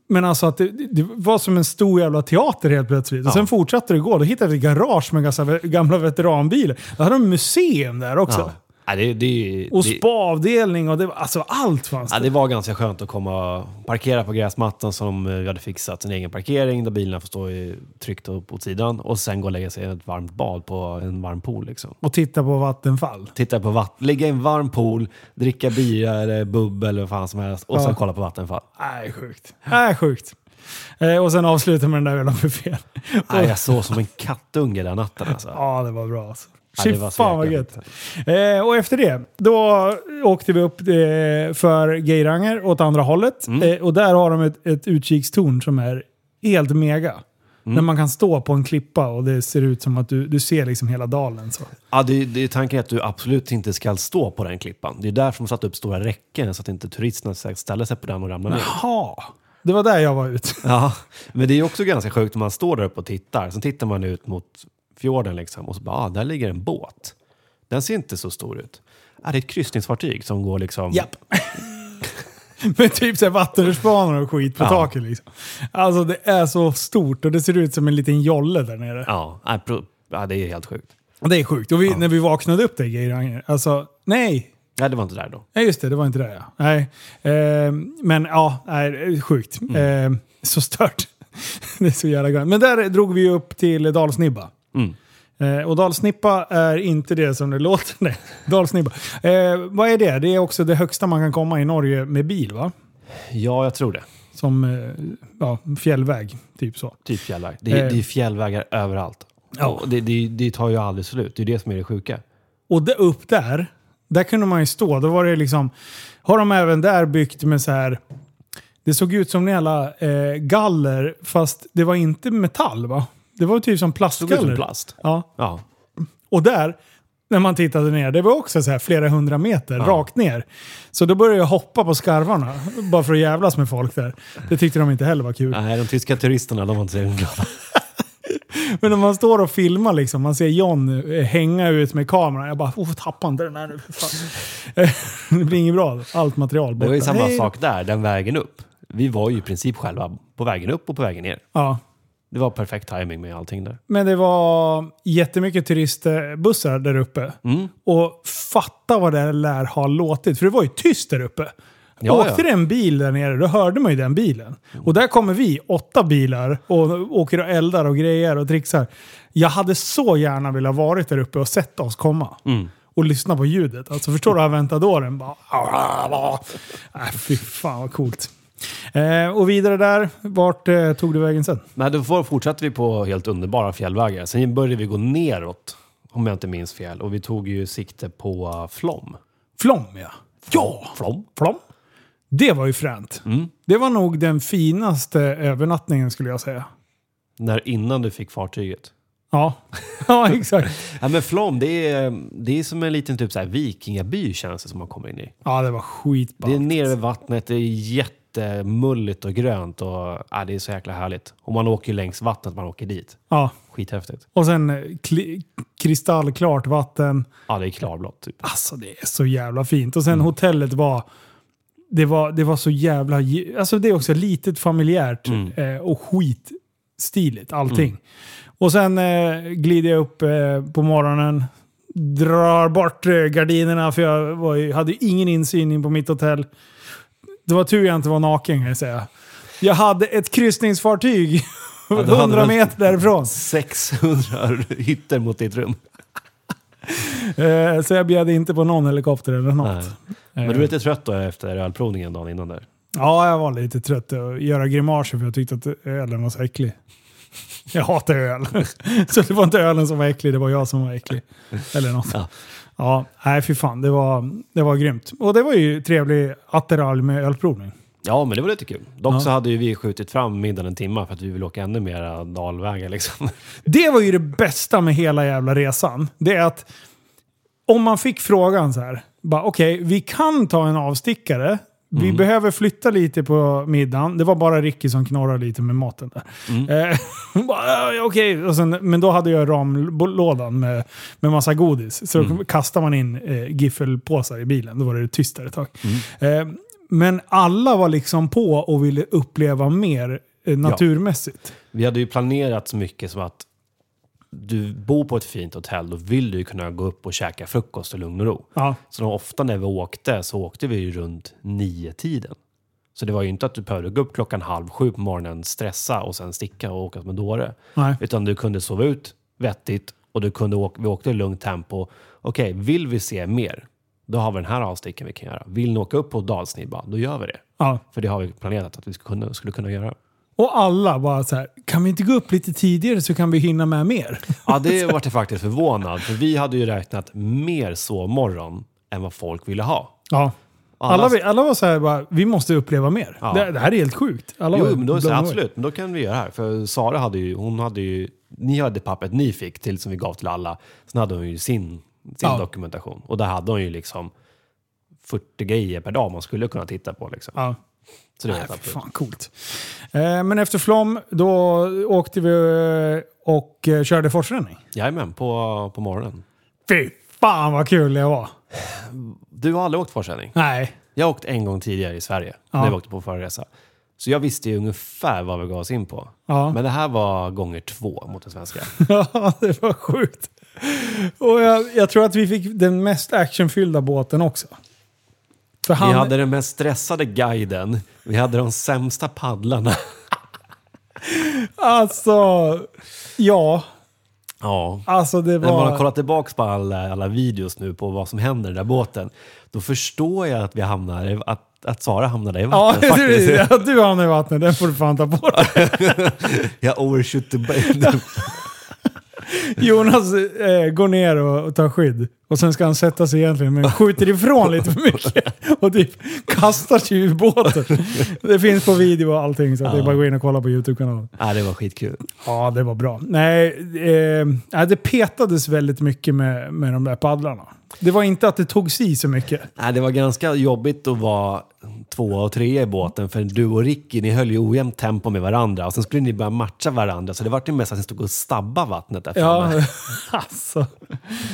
Speaker 1: men alltså att det, det var som en stor jävla teater helt plötsligt. Och
Speaker 2: Ja.
Speaker 1: sen fortsatte det gå. Då hittade vi ett garage med gamla, gamla veteranbilar. Då hade de museum där också.
Speaker 2: Ja. Ja, det, det, är ju-
Speaker 1: Och
Speaker 2: det,
Speaker 1: spaavdelning och det, var- alltså allt fanns
Speaker 2: ja,
Speaker 1: det.
Speaker 2: det var ganska skönt att komma och parkera på gräsmattan som eh, vi hade fixat. En egen parkering där bilarna får stå i- tryckta upp åt sidan. Och sen gå och lägga sig i ett varmt bad på en varm pool. Liksom.
Speaker 1: Och titta på Vattenfall.
Speaker 2: Titta på vatten, ligga i en varm pool, dricka bira eller bubbel eller vad fan som helst. Och
Speaker 1: Ja.
Speaker 2: sen kolla på Vattenfall.
Speaker 1: Nej, sjukt. Nej, sjukt. Eh, och sen avsluta med den där jävla buffén.
Speaker 2: Nej, jag sov som en kattunge den natten alltså.
Speaker 1: Ja, det var bra alltså.
Speaker 2: Ja,
Speaker 1: Fy
Speaker 2: det var så
Speaker 1: fan vad
Speaker 2: jäkla
Speaker 1: gött. Eh, och efter det, då åkte vi upp eh, för Geiranger åt andra hållet.
Speaker 2: Mm.
Speaker 1: Eh, och där har de ett, ett utkikstorn som är helt mega.
Speaker 2: Mm.
Speaker 1: När man kan stå på en klippa och det ser ut som att du, du ser liksom hela dalen. Så.
Speaker 2: Ja, det, det är tanken att du absolut inte ska stå på den klippan. Det är därför de satt upp stora räcken så att inte turisterna ska ställa sig på den och ramla ner.
Speaker 1: Jaha, det var där jag var ute.
Speaker 2: Ja, men det är också ganska sjukt när man står där uppe och tittar. Sen tittar man ut mot fjorden liksom och så bara, ah, där ligger en båt. Den ser inte så stor ut. Ah, det är ett kryssningsfartyg som går liksom...
Speaker 1: [LAUGHS] Med typ så här vattenrutschbanor och skit på
Speaker 2: Ja.
Speaker 1: taket. Liksom. Alltså det är så stort och det ser ut som en liten jolle där nere.
Speaker 2: Ja, nej, pro- ja, det är helt sjukt.
Speaker 1: Och Det är sjukt. Och vi, när vi vaknade upp där i Geiranger, alltså nej.
Speaker 2: Nej, det var inte där då.
Speaker 1: Nej just det, det var inte det ja. Nej. Ehm, men ja, nej, det är sjukt. Ehm, så stört. [LAUGHS] det är så jävla grymt. Men där drog vi upp till Dalsnibba.
Speaker 2: Mm.
Speaker 1: Eh, och Dalsnippa är inte det som det låter. [LAUGHS] Nej, Dalsnibba. Eh, vad är det? Det är också det högsta man kan komma i Norge med bil va?
Speaker 2: Ja, jag tror det.
Speaker 1: Som eh, ja, fjällväg, typ så.
Speaker 2: Typ fjällar. Det är,
Speaker 1: Eh.
Speaker 2: det är fjällvägar överallt.
Speaker 1: Ja.
Speaker 2: Och det, det, det tar ju aldrig slut. Det är det som är det sjuka.
Speaker 1: Och där, upp där, där kunde man ju stå. Då var det liksom, har de även där byggt med så här, det såg ut som en jävla eh, galler, fast det var inte metall va? Det var typ som
Speaker 2: Såg ut
Speaker 1: plastgaller.
Speaker 2: som plast.
Speaker 1: ja.
Speaker 2: Ja.
Speaker 1: Och där, när man tittade ner, det var också så här flera hundra meter rakt ner. Så då började jag hoppa på skarvarna, bara för att jävlas med folk där. Det tyckte de inte heller var kul.
Speaker 2: Nej, de tyska turisterna, de var inte så glada.
Speaker 1: Men när man står och filmar liksom, man ser John eh, hänga ut med kameran. Jag bara, oh, tappa inte den här nu för fan. [LAUGHS] det blir inget bra. Allt material borta.
Speaker 2: Det var ju samma
Speaker 1: Hej.
Speaker 2: sak där, den vägen upp. Vi var ju i princip själva på vägen upp och på vägen ner.
Speaker 1: Ja.
Speaker 2: Det var perfekt timing med allting där.
Speaker 1: Men det var jättemycket turistbussar där uppe.
Speaker 2: Mm.
Speaker 1: Och fatta vad det lär ha låtit. För det var ju tyst där uppe.
Speaker 2: Ja,
Speaker 1: Åkte
Speaker 2: ja.
Speaker 1: det en bil där nere, då hörde man ju den bilen. Och där kommer vi, åtta bilar, och åker och eldar och grejer och trixar. Jag hade så gärna velat varit där uppe och sett oss komma.
Speaker 2: Mm.
Speaker 1: Och lyssna på ljudet. Alltså förstår du aventadoren? Bara... "Ah, Äh, fy fan vad coolt. Eh, och vidare där, vart eh, tog du vägen sen?
Speaker 2: Men då får- fortsatte vi på helt underbara fjällvägar. Sen började vi gå neråt, om jag inte minns fel. Och vi tog ju sikte på eh, Flom.
Speaker 1: Flom ja. Ja!
Speaker 2: Flom?
Speaker 1: Plom. Det var ju fränt. Det var nog den finaste övernattningen skulle jag säga.
Speaker 2: När, innan du fick fartyget.
Speaker 1: Ja, [LAUGHS] ja exakt.
Speaker 2: Ja, men Flom, det är, det är som en liten typ så här vikingaby känns det som man kommer in i.
Speaker 1: Ja, det var
Speaker 2: Det är
Speaker 1: skitballt.
Speaker 2: nere vid vattnet, det är jättemulligt och grönt och ja, det är så jäkla härligt. Och man åker ju längs vattnet, man åker dit.
Speaker 1: Ja.
Speaker 2: Skithäftigt.
Speaker 1: Och sen eh, kli- kristallklart vatten.
Speaker 2: Ja, det är klarblått typ.
Speaker 1: Alltså det är så jävla fint. Och sen
Speaker 2: Mm.
Speaker 1: hotellet var...
Speaker 2: Mm.
Speaker 1: Det var, det var så jävla... ge- Alltså det är också litet, familjärt eh, och skit stiligt allting. Och sen eh, glider jag upp eh, på morgonen, drar bort eh, gardinerna för jag var ju, hade ju ingen insyn in på mitt hotell. Det var tur jag inte var naken kan jag säga. Jag hade ett kryssningsfartyg
Speaker 2: hade
Speaker 1: 100
Speaker 2: väl-
Speaker 1: meter
Speaker 2: [LAUGHS]
Speaker 1: därifrån.
Speaker 2: 600 [LAUGHS] hytter mot ditt rum.
Speaker 1: Eh, så jag bjöd inte på någon helikopter eller något.
Speaker 2: Nej. Men
Speaker 1: Eh.
Speaker 2: du är lite trött då efter ölprovningen dagen innan där?
Speaker 1: Ja, jag var lite trött att göra grimaser för jag tyckte att ölen var så äcklig. [LAUGHS] Jag hatar öl. [LAUGHS] Så det var inte ölen som var äcklig, det var jag som var äcklig. Eller något.
Speaker 2: Ja.
Speaker 1: Ja, nej fy fan. Det var, det var grymt. Och det var ju trevlig attiralj med ölprovning.
Speaker 2: Ja, men det var lite kul. Dock
Speaker 1: Ja.
Speaker 2: så hade ju vi skjutit fram middagen en timme för att vi vill åka ännu mera dalvägar liksom.
Speaker 1: Det var ju det bästa med hela jävla resan. Det är att om man fick frågan så här, bara okej, vi kan ta en avstickare. Vi behöver flytta lite på middagen. Det var bara Ricky som knorrade lite med maten där. Eh, [LAUGHS] bara, "Ja, okej, och sen, men då hade jag ramlådan med, med massa godis. Så kastar man in eh, giffelpåsar i bilen. Då var det tystare ett tag. Eh, men alla var liksom på och ville uppleva mer eh, naturmässigt.
Speaker 2: [LAUGHS] Vi hade ju planerat så mycket som att du bor på ett fint hotell, då vill du ju kunna gå upp och käka frukost i lugn och ro.
Speaker 1: Ja.
Speaker 2: Så då, ofta när vi åkte så åkte vi ju runt nio tiden. Så det var ju inte att du behövde gå upp klockan halv sju på morgonen, stressa och sen sticka och åka som en dåre.
Speaker 1: Nej.
Speaker 2: Utan du kunde sova ut vettigt och du kunde åka, vi åkte i lugnt tempo. Okej, vill vi se mer? Då har vi den här avsticken vi kan göra. Vill ni åka upp på dalsnibba? Då gör vi det.
Speaker 1: Ja.
Speaker 2: För det har vi planerat att vi skulle kunna, skulle kunna göra.
Speaker 1: Och alla bara så här, kan vi inte gå upp lite tidigare så kan vi hinna med mer?
Speaker 2: Ja,
Speaker 1: [LAUGHS]
Speaker 2: det vart jag faktiskt förvånad. För vi hade ju räknat mer sovmorgon än vad folk ville ha.
Speaker 1: Ja.
Speaker 2: Och
Speaker 1: Alla, vi- alla var så här, bara, vi måste uppleva mer.
Speaker 2: Ja.
Speaker 1: Det, det här är helt sjukt. Alla var
Speaker 2: Jo, men då, så,
Speaker 1: blown away.
Speaker 2: absolut, men då kan vi göra det här. För Sara hade ju, hon hade ju, ni hade pappret ni fick till som vi gav till alla. Sen hade hon ju sin, sin
Speaker 1: Ja.
Speaker 2: dokumentation. Och där hade hon ju liksom 40 grejer per dag man skulle kunna titta på. Liksom.
Speaker 1: Ja.
Speaker 2: Så det var
Speaker 1: Nej,
Speaker 2: helt
Speaker 1: fy
Speaker 2: absurt.
Speaker 1: fan coolt. Eh, men efter Flom, då åkte vi eh, och eh, körde forsränning.
Speaker 2: Jajamän, på, på morgonen.
Speaker 1: Fy fan vad kul det var!
Speaker 2: Du har aldrig åkt forsränning?
Speaker 1: Nej.
Speaker 2: Jag har åkt en gång tidigare i Sverige,
Speaker 1: Ja.
Speaker 2: när vi åkte på förra resa. Så jag visste ju ungefär vad vi gav oss in på.
Speaker 1: Ja.
Speaker 2: Men det här var gånger två mot den svenska.
Speaker 1: [LAUGHS] Ja, det var sjukt. Och jag, jag tror att vi fick den mest actionfyllda båten också. För
Speaker 2: Vi hade den mest stressade guiden, vi hade de sämsta paddlarna.
Speaker 1: Alltså, ja.
Speaker 2: Ja.
Speaker 1: Alltså det
Speaker 2: När man
Speaker 1: var...
Speaker 2: har kollat tillbaka på alla, alla videos nu på vad som händer i den där båten, då förstår jag att vi hamnar, i- att, att Sara hamnade i
Speaker 1: Ja, [LAUGHS]
Speaker 2: vattnet faktiskt.
Speaker 1: du, ja, du hamnar i vattnet. Den får du fan ta på
Speaker 2: [LAUGHS]
Speaker 1: dig.
Speaker 2: Jag overshoot
Speaker 1: [LAUGHS]
Speaker 2: the boat. [LAUGHS]
Speaker 1: Jonas eh, går ner och, och tar skydd. Och sen ska han sätta sig egentligen, men skjuter ifrån lite för
Speaker 2: [LAUGHS]
Speaker 1: mycket. Och typ kastar sig ur båten. Det finns på video och allting, så att det är bara att gå in och kolla på YouTube-kanalen.
Speaker 2: ja, det var skitkul.
Speaker 1: Ja, det var bra. Nej, eh, nej, det petades väldigt mycket med, med de där paddlarna. Det var inte att det tog sig så mycket.
Speaker 2: Nej, det var ganska jobbigt att vara två och tre i båten, för du och Ricky, ni höll ju ojämnt tempo med varandra. Och sen skulle ni börja matcha varandra, så det var ju mest att ni stod och stabbade vattnet där
Speaker 1: Ja,
Speaker 2: framme.
Speaker 1: [LAUGHS] alltså.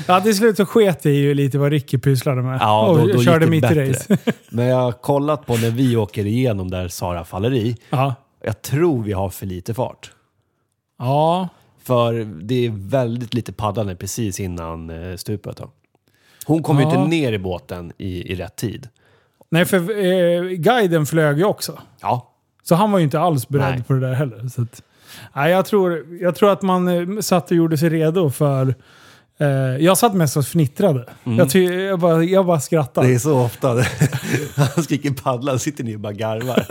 Speaker 1: Ja, till slut så sket det ju lite vad Ricky pysslade med.
Speaker 2: Ja,
Speaker 1: [LAUGHS]
Speaker 2: då,
Speaker 1: och
Speaker 2: då
Speaker 1: körde
Speaker 2: gick det
Speaker 1: mitt
Speaker 2: bättre.
Speaker 1: race.
Speaker 2: [LAUGHS] Men jag har kollat på när vi åker igenom där Sara faller i.
Speaker 1: Ja.
Speaker 2: Jag tror vi har för lite fart.
Speaker 1: Ja.
Speaker 2: För det är väldigt lite paddlande precis innan eh, stupet. Då. Hon kom ju
Speaker 1: Ja.
Speaker 2: inte ner i båten i, i rätt tid.
Speaker 1: Nej, för eh, guiden flög ju också.
Speaker 2: Ja,
Speaker 1: Så han var ju inte alls beredd
Speaker 2: Nej.
Speaker 1: på det där heller. Så att, nej, jag, tror, jag tror att man eh, satt och gjorde sig redo för... Eh, jag satt mest och fnittrade.
Speaker 2: Mm.
Speaker 1: Jag, ty, jag, bara, jag bara skrattade.
Speaker 2: det är så ofta. [LAUGHS] Han skriker paddla, sitter ni och bara garvar.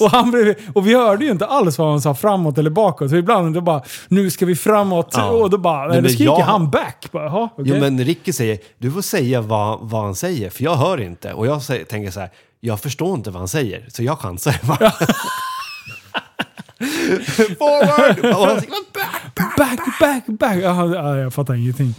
Speaker 1: Och, han blev, och vi hörde ju inte alls vad han sa framåt eller bakåt. Så ibland då bara, nu ska vi framåt.
Speaker 2: Ja.
Speaker 1: Och då bara, nej,
Speaker 2: men
Speaker 1: då skriker
Speaker 2: jag-
Speaker 1: han back. Bara, "Jaha, okej."
Speaker 2: Jo, men Ricky säger, du får säga vad, vad han säger, för jag hör inte. Och jag säger, tänker så här, jag förstår inte vad han säger, så jag chansar. [LAUGHS] Forward! Och han säger, "Vad bra!"
Speaker 1: Back, back, back! Ja, ja, jag fattar ingenting.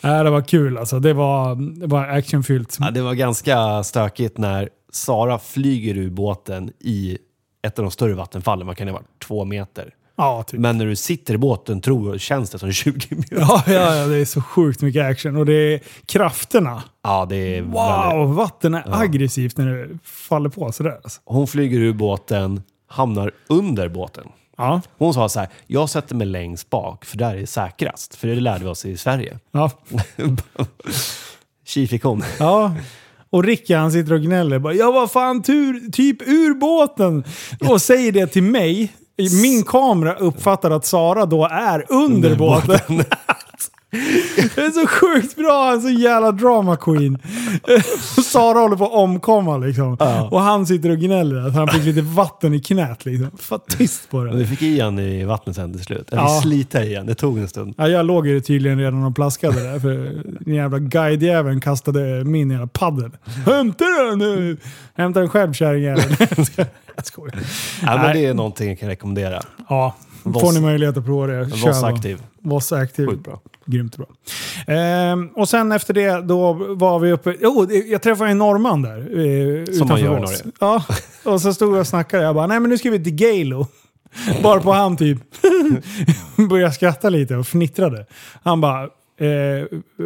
Speaker 1: Ja, det var kul alltså. Det var, det var actionfyllt.
Speaker 2: Ja, det var ganska stökigt när Sara flyger ur båten i ett av de större vattenfallen, man kan ju vara två meter.
Speaker 1: Ja, typ.
Speaker 2: Men när du sitter i båten tror, känns det som 20 meter. Ja,
Speaker 1: Ja, ja, ja, det är så sjukt mycket action. Och det är krafterna.
Speaker 2: det är väldigt-
Speaker 1: Wow, vatten är aggressivt när det faller på sådär. Alltså.
Speaker 2: Hon flyger ur båten, hamnar under båten.
Speaker 1: Ja.
Speaker 2: Hon sa så här, jag sätter mig längst bak för där är det säkrast. För det lärde vi oss i Sverige.
Speaker 1: Ja.
Speaker 2: Tji fick hon.
Speaker 1: ja. Och Ricka han sitter och gnäller. Bara, jag var fan tur, typ ur båten! Och säger det till mig. Min kamera uppfattar att Sara då är under båten. [LAUGHS] Det är så sjukt bra, han är så jävla drama queen. [LAUGHS] Sara håller på att omkomma liksom. Och han sitter och gnäller att han fick lite vatten i knät liksom. Fan tyst på
Speaker 2: Men
Speaker 1: det.
Speaker 2: vi fick i han i vattnet sen till slut. Eller
Speaker 1: Ja.
Speaker 2: slita i han, det tog en stund.
Speaker 1: Ja, jag låg ju tydligen redan och plaskade där för den jävla guidejäveln kastade min jävla paddel. Hämta den nu! Hämta den själv kärringjäveln. [LAUGHS] Jag skojar.
Speaker 2: Ja, men
Speaker 1: Nej.
Speaker 2: det är någonting jag kan rekommendera.
Speaker 1: Ja, får
Speaker 2: Voss-
Speaker 1: ni möjlighet att prova det. kör
Speaker 2: Var
Speaker 1: då.
Speaker 2: aktiv.
Speaker 1: Voss aktiv.
Speaker 2: Sjukt bra.
Speaker 1: Grymt bra. Ehm, och sen efter det då var vi uppe... Jo, det- jag träffade en norrman där. Eh,
Speaker 2: Som man
Speaker 1: utanför
Speaker 2: gör i
Speaker 1: Voss.
Speaker 2: Norge.
Speaker 1: Ja, och så stod jag och snackade. Jag bara, nej men nu ska vi till Galo. [LAUGHS] Bara på han typ [LAUGHS] började skratta lite och fnittrade. Han bara, eh,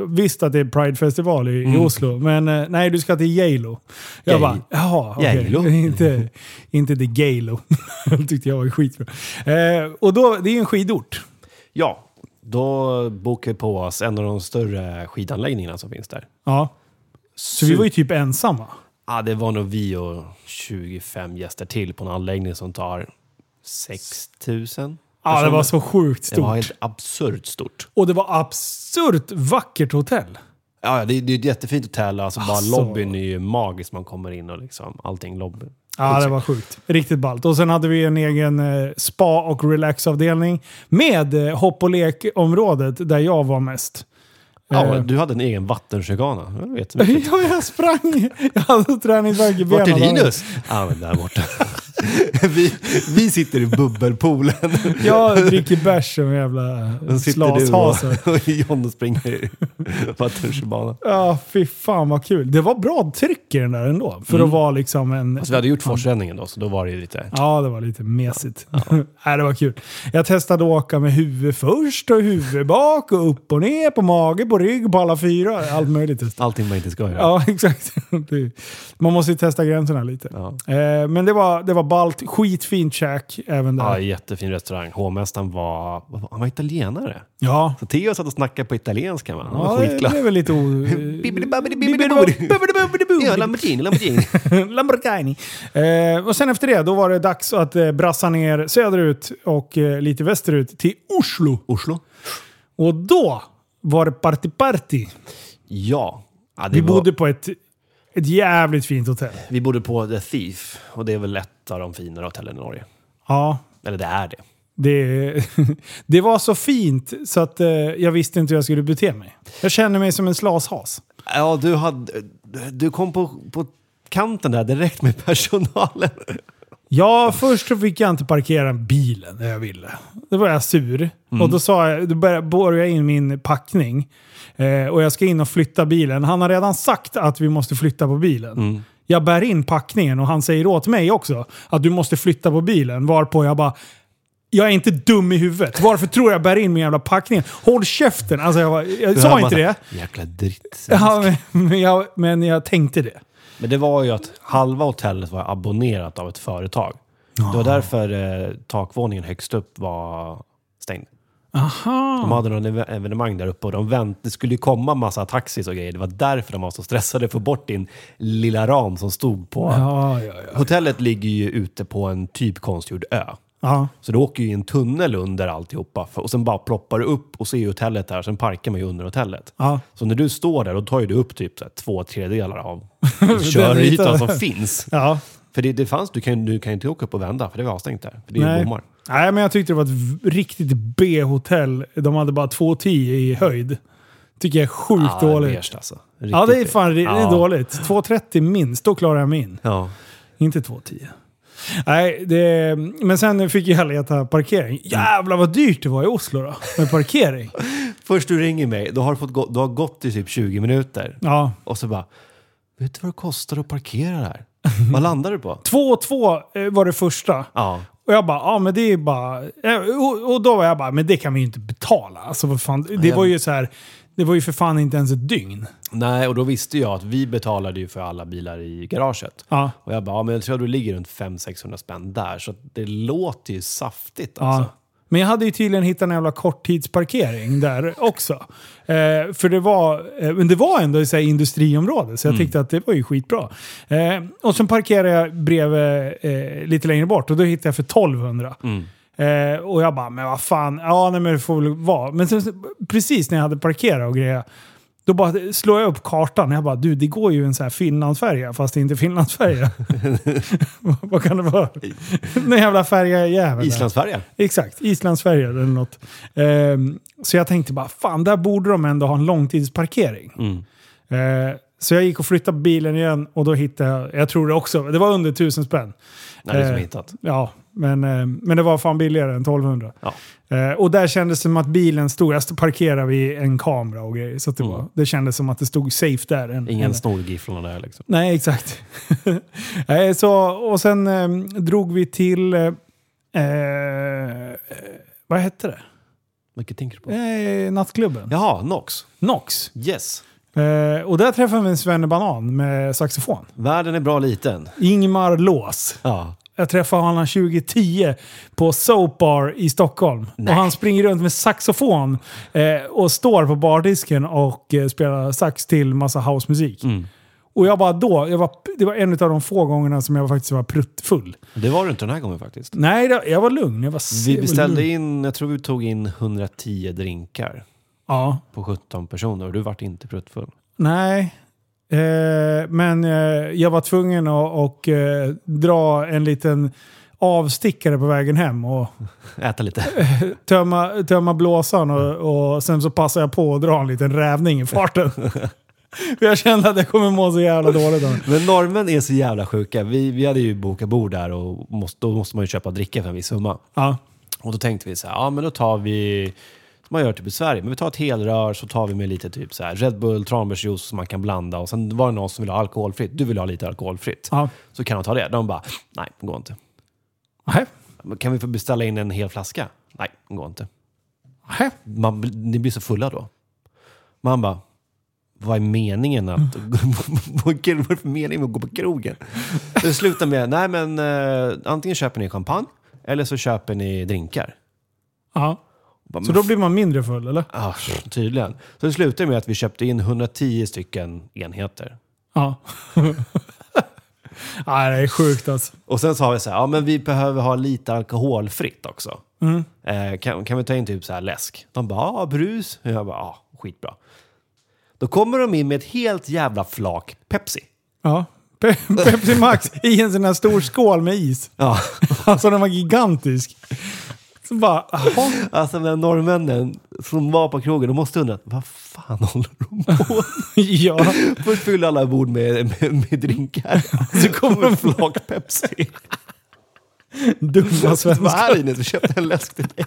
Speaker 1: visst att det är Pride-festival i,
Speaker 2: Mm.
Speaker 1: i Oslo, men eh, nej du ska till Galo. Jag
Speaker 2: Gay.
Speaker 1: bara, jaha, okej. [LAUGHS]
Speaker 2: Galo.
Speaker 1: inte, inte till Galo. det [LAUGHS] tyckte jag var skitbra. Eh, och då, det är en skidort.
Speaker 2: Ja, då bokade vi på oss en av de större skidanläggningarna som finns där.
Speaker 1: Ja, så vi var ju typ ensamma.
Speaker 2: Ja, det var nog vi och 25 gäster till på en anläggning som tar 6 000.
Speaker 1: Ja, det var så sjukt
Speaker 2: Det var
Speaker 1: stort.
Speaker 2: helt absurt stort.
Speaker 1: Och det var absurt vackert hotell.
Speaker 2: Ja, ja, det, det är ett jättefint hotell. Alltså, bara
Speaker 1: Alltså.
Speaker 2: lobbyn är ju magisk. Man kommer in och liksom allting lobby.
Speaker 1: Ja, det var sjukt. Riktigt ballt. Och sen hade vi en egen eh, spa och relaxavdelning med eh, hopp och lekområdet där jag var mest.
Speaker 2: Ja,
Speaker 1: Eh.
Speaker 2: du hade en egen vattenrutschkana. Jag vet [LAUGHS] inte.
Speaker 1: [LAUGHS] Ja, jag sprang! Jag hade träningsvärk i benen.
Speaker 2: Vart är Linus? Ja, men där borta. [LAUGHS] vi, vi sitter i bubbelpoolen.
Speaker 1: Jag dricker bärs som jävla
Speaker 2: Sen sitter du
Speaker 1: slashasar.
Speaker 2: och, och John springer i vattenrutschbanan.
Speaker 1: Ja, fy fan vad kul. Det var bra tryck i den där ändå. För att vara liksom en...
Speaker 2: Alltså, vi hade gjort forsränningen då, så då var det ju lite...
Speaker 1: Ja, det var lite mesigt. Nej, det var kul. Jag testade att åka med huvud först och huvud bak och upp och ner på mage, på rygg, på alla fyra. Allt möjligt. testade
Speaker 2: Allting man inte ska göra.
Speaker 1: jag. Ja, exakt. Det- Man måste ju testa gränserna lite.
Speaker 2: Ja.
Speaker 1: Eh, Men det var, det var ballt. Skitfint käk även där.
Speaker 2: Ja, jättefin restaurang. Hovmästaren var, vad var- han var italienare.
Speaker 1: Ja.
Speaker 2: Så Theo satt och snackade på italienska. Man. Han
Speaker 1: Ja,
Speaker 2: var
Speaker 1: det
Speaker 2: skitglad.
Speaker 1: blev väl lite o...
Speaker 2: Ja, Lamborghini, [LAUGHS] Lamborghini.
Speaker 1: Lamborghini. Eh, och sen efter det, då var det dags att eh, brassa ner söderut och eh, lite västerut till Oslo.
Speaker 2: Oslo?
Speaker 1: Och då var det party party.
Speaker 2: Ja. ja det
Speaker 1: Vi
Speaker 2: var,
Speaker 1: bodde på ett, ett jävligt fint hotell.
Speaker 2: vi bodde på The Thief och det är väl ett av de finare hotellen i Norge.
Speaker 1: Ja,
Speaker 2: Eller det är det.
Speaker 1: det, [LAUGHS] det var så fint så att eh, jag visste inte hur jag skulle bete mig. Jag kände mig som en slashas.
Speaker 2: Ja, du, hade, du kom på, på kanten där direkt med personalen.
Speaker 1: Ja, först så fick jag inte parkera bilen när jag ville. Då var jag sur. Och då, sa jag, då började borrade jag in min packning. Eh, och jag ska in och flytta bilen. Han har redan sagt att vi måste flytta på bilen. Jag bär in packningen och han säger åt mig också att du måste flytta på bilen. Varpå jag bara... Jag är inte dum i huvudet. Varför tror jag bär in min jävla packning? Håll käften! Alltså jag, bara, jag sa inte det.
Speaker 2: Jäkla dritt.
Speaker 1: Ja, men, men, jag, men jag tänkte det.
Speaker 2: Men det var ju att halva hotellet var abonnerat av ett företag. Det var därför eh, takvåningen högst upp var stängd. De hade någon ev- evenemang där uppe och de vänt, det skulle ju komma massa taxis och grejer. Det var därför de var så stressade att få bort din lilla ram som stod på.
Speaker 1: Ja, ja, ja.
Speaker 2: Hotellet ligger ju ute på en typ konstgjord ö.
Speaker 1: ja.
Speaker 2: Så du åker ju i en tunnel under alltihopa för, och sen bara ploppar du upp och ser ju hotellet där. Sen parkar man ju under hotellet.
Speaker 1: ja.
Speaker 2: Så när du står där, då tar ju du upp typ så här, två
Speaker 1: [LAUGHS]
Speaker 2: tredjedelar av
Speaker 1: ytan.
Speaker 2: körytan som finns.
Speaker 1: ja.
Speaker 2: För det, det fanns, du kan ju du kan ju inte åka upp och vända, för det var avstängt där. För det är ju
Speaker 1: Nej.
Speaker 2: bommar.
Speaker 1: Nej, men jag tyckte det var ett v- riktigt B-hotell. De hade bara 2,10 i höjd. Tycker jag är sjukt
Speaker 2: Ah,
Speaker 1: dåligt.
Speaker 2: beige, alltså. Riktigt
Speaker 1: ja, det är fan det
Speaker 2: Ja.
Speaker 1: är dåligt. 2,30 minst, då klarar jag mig in.
Speaker 2: Ja.
Speaker 1: Inte 2,10. Nej, det, men sen fick jag leta parkering. Jävlar vad dyrt det var i Oslo då, med [LAUGHS] parkering.
Speaker 2: Först du ringer mig, då har du, fått gå, du har gått i typ 20 minuter.
Speaker 1: Ja.
Speaker 2: Och så bara, vet du vad det kostar att
Speaker 1: [LAUGHS]
Speaker 2: parkera här? vad landar du på?
Speaker 1: 2,2 eh, var det första.
Speaker 2: Ja.
Speaker 1: Och jag bara, ja men det är bara... eh, Och, och då var jag bara, men det kan vi ju inte betala. Alltså vad fan, det var ju så här... Det var ju för fan inte ens ett dygn.
Speaker 2: Nej, och då visste jag att vi betalade ju för alla bilar i garaget.
Speaker 1: Ja.
Speaker 2: Och jag bara, ja, men jag tror du ligger runt 500-600 spänn där. Så att det låter ju saftigt
Speaker 1: Ja.
Speaker 2: alltså.
Speaker 1: Men jag hade ju tydligen hittat en jävla korttidsparkering där också. Eh, för det var, eh, men det var ändå i så här industriområde, så jag tyckte att det var ju skitbra. Eh, och sen parkerade jag bredvid, eh, lite längre bort, och då hittade jag för 1200. Eh, och jag bara, men vad fan, ja nej, men det får väl vara. Men sen, precis när jag hade parkerat och grejer, då bara slår jag upp kartan och jag bara, du det går ju en så här Finlandsfärja, fast det är inte Finlandsfärja. [LAUGHS] Vad- vad kan det vara? Någon jävla färja-jävel. där.
Speaker 2: Islandsfärja.
Speaker 1: Exakt, Islandsfärjor eller något. Ehm, så jag tänkte bara, fan där borde de ändå ha en långtidsparkering.
Speaker 2: Mm.
Speaker 1: Ehm, så jag gick och flyttade bilen igen och då hittade jag, jag tror det också, det var under tusen spänn.
Speaker 2: Nej, det är som
Speaker 1: Eh,
Speaker 2: hittat.
Speaker 1: Ja, men, eh, men det var fan billigare än 1200.
Speaker 2: Ja.
Speaker 1: Eh, och där kändes det som att bilen stod, jag stod- parkerade vid en kamera och grejer. Så att det,
Speaker 2: Mm.
Speaker 1: var, det kändes som att det stod safe där. Än,
Speaker 2: Ingen
Speaker 1: än-
Speaker 2: snorgifflorna där liksom.
Speaker 1: Nej, exakt. [LAUGHS] Nej, så, och sen eh, drog vi till... Eh, eh, vad hette det?
Speaker 2: Vilket tänker du på?
Speaker 1: Eh, nattklubben.
Speaker 2: Jaha, Nox.
Speaker 1: Nox.
Speaker 2: Yes.
Speaker 1: Eh, och där träffade vi en Svenne Banan med saxofon.
Speaker 2: Världen är bra liten.
Speaker 1: Ingmar Lås.
Speaker 2: Ja.
Speaker 1: Jag träffade honom 2010 på Soap Bar i Stockholm.
Speaker 2: Nej.
Speaker 1: Och han springer runt med saxofon eh, och står på bardisken och eh, spelar sax till massa housemusik.
Speaker 2: Mm.
Speaker 1: Och jag bara då, jag var, det var en av de få gångerna som jag faktiskt var pruttfull.
Speaker 2: Det var det inte den här gången faktiskt.
Speaker 1: Nej, det- jag var lugn. Jag var
Speaker 2: Vi beställde in, jag tror vi tog in 110 drinkar
Speaker 1: Ja,
Speaker 2: på 17 personer och du vart inte pruttfull.
Speaker 1: Nej, eh, men eh, jag var tvungen att och, eh, dra en liten avstickare på vägen hem och [LAUGHS]
Speaker 2: Äta lite.
Speaker 1: tömma, tömma blåsan och, och sen så passade jag på att dra en liten rävning i farten. [LAUGHS] För jag kände att jag kommer må så jävla dåligt av det.
Speaker 2: Men normen är så jävla sjuka. Vi, vi hade ju bokat bord där och måste, då måste man ju köpa dricka för en viss summa.
Speaker 1: Ja,
Speaker 2: Och då tänkte vi så här, ja men då tar vi, som man gör typ i Sverige, men vi tar ett helrör så tar vi med lite typ så här Red Bull, tranbärsjuice som man kan blanda och sen var det någon som ville ha alkoholfritt. Du vill ha lite alkoholfritt.
Speaker 1: ja.
Speaker 2: Så kan de ta det. De bara, nej det går inte.
Speaker 1: Nej,
Speaker 2: Men Kan vi få beställa in en hel flaska? Nej, det går inte.
Speaker 1: nej.
Speaker 2: man, ni blir så fulla då. Man bara, vad är meningen att [LAUGHS] vad är det för mening med att gå på krogen? Det slutar med, nej men eh, antingen köper ni champagne eller så köper ni drinkar.
Speaker 1: Ja.
Speaker 2: Bara,
Speaker 1: Så
Speaker 2: men
Speaker 1: då
Speaker 2: f-
Speaker 1: blir man mindre full eller?
Speaker 2: ah, tydligen. Så det slutar med att vi köpte in 110 stycken enheter.
Speaker 1: Ja. [LAUGHS] Nej, det är sjukt alltså.
Speaker 2: Och sen sa vi så här, ja men vi behöver ha lite alkoholfritt också. Eh, kan, kan vi ta in typ så här läsk? De bara, ja brus. Och jag bara, ja skitbra. Då kommer de in med ett helt jävla flak Pepsi.
Speaker 1: Ja. Pe- Pepsi Max i en sån här stor skål med is.
Speaker 2: Ja, [LAUGHS]
Speaker 1: [LAUGHS] Alltså den var gigantisk. Så bara, jaha. [LAUGHS]
Speaker 2: alltså den norrmännen som var på krogen, de måste undra vad fan håller de på med?" [LAUGHS]
Speaker 1: Ja.
Speaker 2: Först fyller alla bord med, med, med drinkar, så kommer en flak Pepsi. [LAUGHS]
Speaker 1: Dumma
Speaker 2: Vad
Speaker 1: svenskar.
Speaker 2: är det Ines? Vi köpte en läsk till dig.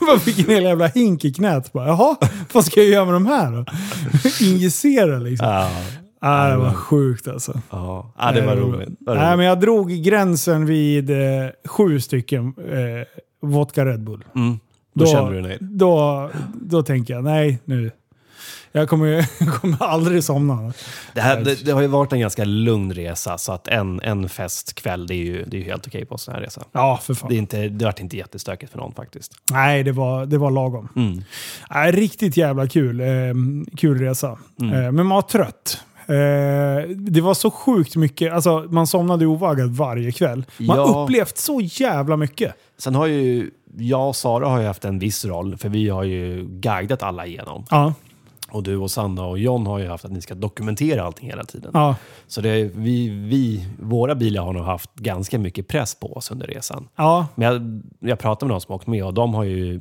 Speaker 1: Bara fick en hel jävla hink i knät. Bara, jaha, vad ska jag göra med de här då? [LAUGHS] Injicera liksom.
Speaker 2: Ja,
Speaker 1: Ah, det var sjukt alltså.
Speaker 2: ja. ja, det var roligt. Det var
Speaker 1: Nej,
Speaker 2: roligt.
Speaker 1: men jag drog gränsen vid eh, sju stycken eh, vodka Red Bull.
Speaker 2: Mm. Då kände du dig nöjd.
Speaker 1: Då, då tänker jag, nej nu. Jag kommer, ju- [LAUGHS] jag kommer aldrig somna.
Speaker 2: Det, här, det, det har ju varit en ganska lugn resa, så att en, en festkväll, det är ju, det är ju helt okej på en sån här resa.
Speaker 1: Ja, för fan.
Speaker 2: Det, är inte, det har varit inte jättestökigt för någon faktiskt.
Speaker 1: Nej, det var, det var lagom.
Speaker 2: Mm.
Speaker 1: Nej, riktigt jävla kul, eh, kul resa.
Speaker 2: Mm.
Speaker 1: Eh, men man var trött. Eh, det var så sjukt mycket. Alltså, man somnade ovaggat varje kväll. Man
Speaker 2: Ja.
Speaker 1: upplevt så jävla mycket.
Speaker 2: Sen har ju jag och Sara har ju haft en viss roll, för vi har ju guidat alla igenom.
Speaker 1: Ja,
Speaker 2: Och du och Sanna och John har ju haft att ni ska dokumentera allting hela tiden.
Speaker 1: ja,
Speaker 2: Så det, är- vi, vi, våra bilar har nog haft ganska mycket press på oss under resan.
Speaker 1: ja.
Speaker 2: Men jag, jag pratade med någon som har åkt med och de har ju,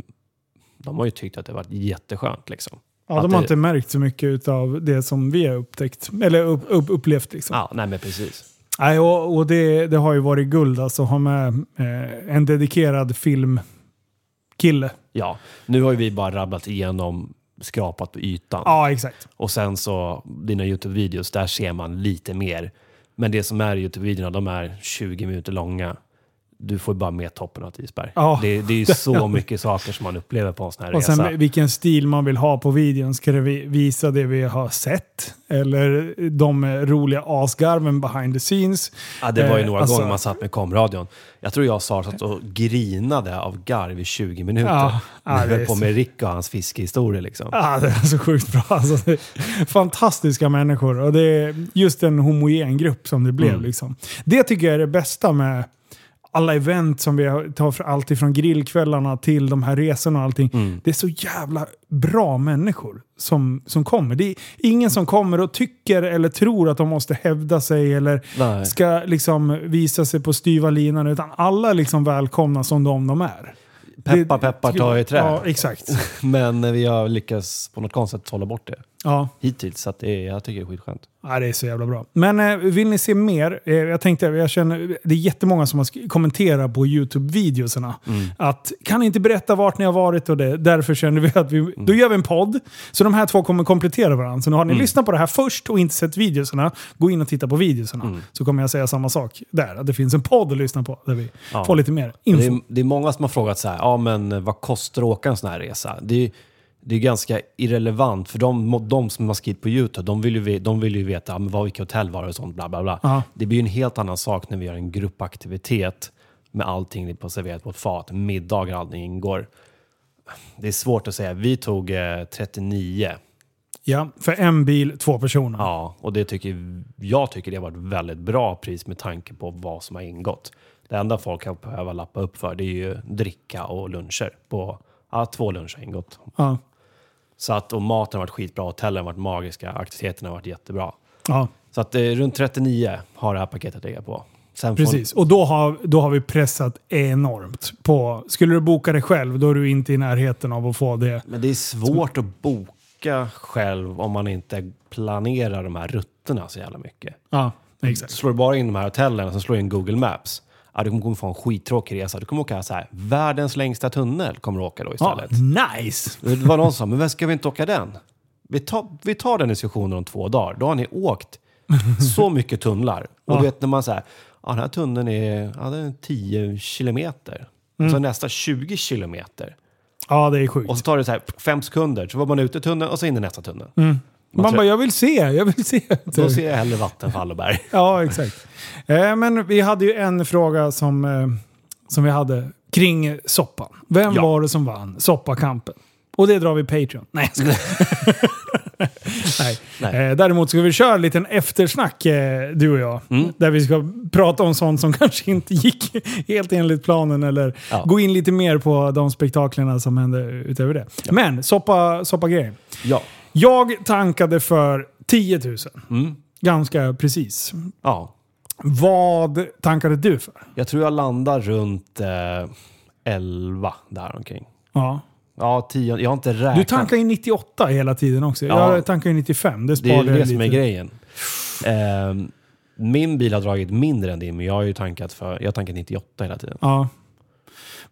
Speaker 2: de har ju tyckt att det har varit jätteskönt. Liksom.
Speaker 1: ja
Speaker 2: Att
Speaker 1: de har
Speaker 2: det-
Speaker 1: inte märkt så mycket av det som vi har upptäckt. Eller upp, upp, upplevt liksom.
Speaker 2: Ja, nej men precis.
Speaker 1: Nej, och, och det, det har ju varit guld alltså. att Ha med eh, en dedikerad filmkille.
Speaker 2: Ja, nu har ju vi bara rabblat igenom, skrapat på ytan.
Speaker 1: Ja, exakt.
Speaker 2: Och sen så, dina YouTube-videos, där ser man lite mer. Men det som är i YouTube-videorna, de är 20 minuter långa. du får ju bara med toppen av ett isberg.
Speaker 1: Ja.
Speaker 2: Det, det är
Speaker 1: [LAUGHS]
Speaker 2: ju så mycket saker som man upplever på en sån här
Speaker 1: Och
Speaker 2: resa.
Speaker 1: sen vilken stil man vill ha på videon. Ska det vi- visa det vi har sett? Eller de eh, roliga asgarven behind the scenes?
Speaker 2: Ja, det var ju
Speaker 1: Eh,
Speaker 2: några
Speaker 1: alltså-
Speaker 2: gånger man satt med komradion. Jag tror jag och Sara satt och grinade av garv i 20 minuter.
Speaker 1: Ja, ja,
Speaker 2: när vi
Speaker 1: det är
Speaker 2: höll på
Speaker 1: så-
Speaker 2: med Rick och hans fiskehistorier. Liksom.
Speaker 1: Ah, det är så sjukt bra. Alltså, det är fantastiska människor. Och det är just en homogen grupp som det blev.
Speaker 2: Mm.
Speaker 1: Liksom. Det tycker jag är det bästa med alla event som vi har- tar, för- allt ifrån grillkvällarna till de här resorna och allting.
Speaker 2: Mm.
Speaker 1: Det är så jävla bra människor som, som kommer. Det är ingen som kommer och tycker eller tror att de måste hävda sig eller
Speaker 2: Nej.
Speaker 1: ska liksom visa sig på styva linan. Utan alla liksom välkomna som de de är.
Speaker 2: Peppa,
Speaker 1: Det-
Speaker 2: peppar, ta i trä.
Speaker 1: Ja, exakt.
Speaker 2: [LAUGHS] Men vi har lyckats på något konstigt hålla bort det
Speaker 1: Ja.
Speaker 2: hittills. Så att det är, jag tycker det är skitskönt.
Speaker 1: Ja, det är så jävla bra. Men eh, vill ni se mer? Eh, jag tänkte, jag känner, det är jättemånga som har sk- kommenterat på YouTube-videoserna.
Speaker 2: Mm.
Speaker 1: Att, kan ni inte berätta vart ni har varit? Och det, därför kände vi att vi,
Speaker 2: Mm.
Speaker 1: då gör vi en podd. Så de här två kommer komplettera varandra. Så nu
Speaker 2: Mm.
Speaker 1: har ni lyssnat på det här först och inte sett videoserna, gå in och titta på videoserna.
Speaker 2: Mm.
Speaker 1: Så kommer jag säga samma sak där. Att det finns en podd att lyssna på där vi
Speaker 2: Ja.
Speaker 1: får lite mer
Speaker 2: Det
Speaker 1: info.
Speaker 2: är, det är många som har frågat så här, ja men vad kostar det att åka en sån här resa? Det är, ju- det är ganska irrelevant, för de, de som har skrivit på YouTube, de vill ju, ve- de vill ju veta ja, men vad, vilka hotell var det och sånt, bla bla bla.
Speaker 1: Ja.
Speaker 2: Det blir ju en helt annan sak när vi gör en gruppaktivitet med allting på serverat på ett fat, middagar och allting ingår. Det är svårt att säga. Vi tog eh, 39.
Speaker 1: Ja, för en bil, två personer.
Speaker 2: Ja, och det tycker, jag tycker det har varit väldigt bra pris med tanke på vad som har ingått. Det enda folk kan behöva lappa upp för det är ju dricka och luncher. På, ja, två luncher har ingått.
Speaker 1: Ja.
Speaker 2: Så att, och maten har varit skitbra, hotellen har varit magiska, aktiviteterna har varit jättebra.
Speaker 1: ja.
Speaker 2: Så att eh, runt 39 har det här paketet legat på. Sen får-
Speaker 1: Precis, och då har, då har vi pressat enormt på... Skulle du boka det själv, då är du inte i närheten av att få det.
Speaker 2: men det är svårt att boka själv om man inte planerar de här rutterna så jävla mycket.
Speaker 1: Ja, exakt.
Speaker 2: Slår du bara in de här hotellen och sen slår du in Google Maps. Ja, du kommer få en skittråkig resa. Du kommer åka så här, världens längsta tunnel kommer du åka då
Speaker 1: Ja,
Speaker 2: istället.
Speaker 1: nice!
Speaker 2: Det var någon som sa, men varför ska vi inte åka den? Vi tar, vi tar den diskussionen om två dagar. Då har ni åkt så mycket tunnlar. Och
Speaker 1: Ja.
Speaker 2: du vet när man säger, ja, den här tunneln är, ja, den är 10 kilometer. Och så nästa 20 kilometer.
Speaker 1: Ja, det är sjukt.
Speaker 2: Och så tar det så här fem sekunder, så var man ute i tunneln och så in i nästa tunnel.
Speaker 1: Man
Speaker 2: tror-
Speaker 1: bara, jag vill se, jag vill se.
Speaker 2: Då ser jag hellre vattenfall och berg.
Speaker 1: Ja, exakt. Eh, men vi hade ju en fråga som, eh, som vi hade kring soppan. Vem
Speaker 2: Ja.
Speaker 1: var det som vann soppakampen? Och det drar vi Patreon. Nej, jag skojar.
Speaker 2: [LAUGHS]
Speaker 1: Nej.
Speaker 2: Nej.
Speaker 1: Eh, däremot ska vi köra en liten eftersnack, eh, du och jag.
Speaker 2: Mm.
Speaker 1: Där vi ska prata om sånt som [LAUGHS] kanske inte gick helt enligt planen. Eller
Speaker 2: Ja.
Speaker 1: gå in lite mer på de spektaklerna som hände utöver det. Men soppa, soppa grejen.
Speaker 2: Ja.
Speaker 1: Jag tankade för 10 000. Ganska precis.
Speaker 2: Mm. ja.
Speaker 1: Vad tankade du för?
Speaker 2: Jag tror jag landar runt eh, 11 där omkring.
Speaker 1: Ja.
Speaker 2: Ja, 10. Jag har inte räknat.
Speaker 1: Du tankar ju 98 hela tiden också.
Speaker 2: Ja.
Speaker 1: Jag tankar ju 95. Det
Speaker 2: det är
Speaker 1: sparar
Speaker 2: ju det
Speaker 1: jag
Speaker 2: som är
Speaker 1: lite.
Speaker 2: grejen. Ehm, min bil har dragit mindre än din, men jag har ju tankat för... Jag har tankat 98 hela tiden.
Speaker 1: Ja.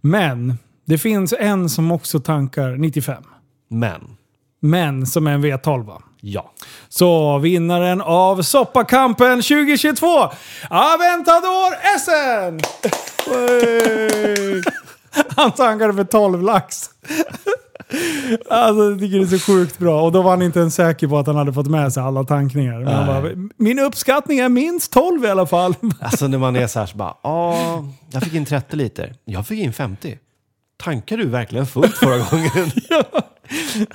Speaker 1: Men det finns en som också tankar 95.
Speaker 2: Men,
Speaker 1: Men som är en V12.
Speaker 2: ja.
Speaker 1: Så vinnaren av Soppakampen 2022, Aventador Essen! Han tankade för 12 lax. Alltså jag tycker det är så sjukt bra. Och då var han inte ens säker på att han hade fått med sig alla tankningar. Men han bara,
Speaker 2: Nej.
Speaker 1: min uppskattning är minst 12 i alla fall.
Speaker 2: Alltså när man är så här så bara, ja, jag fick in 30 liter. Jag fick in 50. Tankar du verkligen fullt förra gången? [LAUGHS]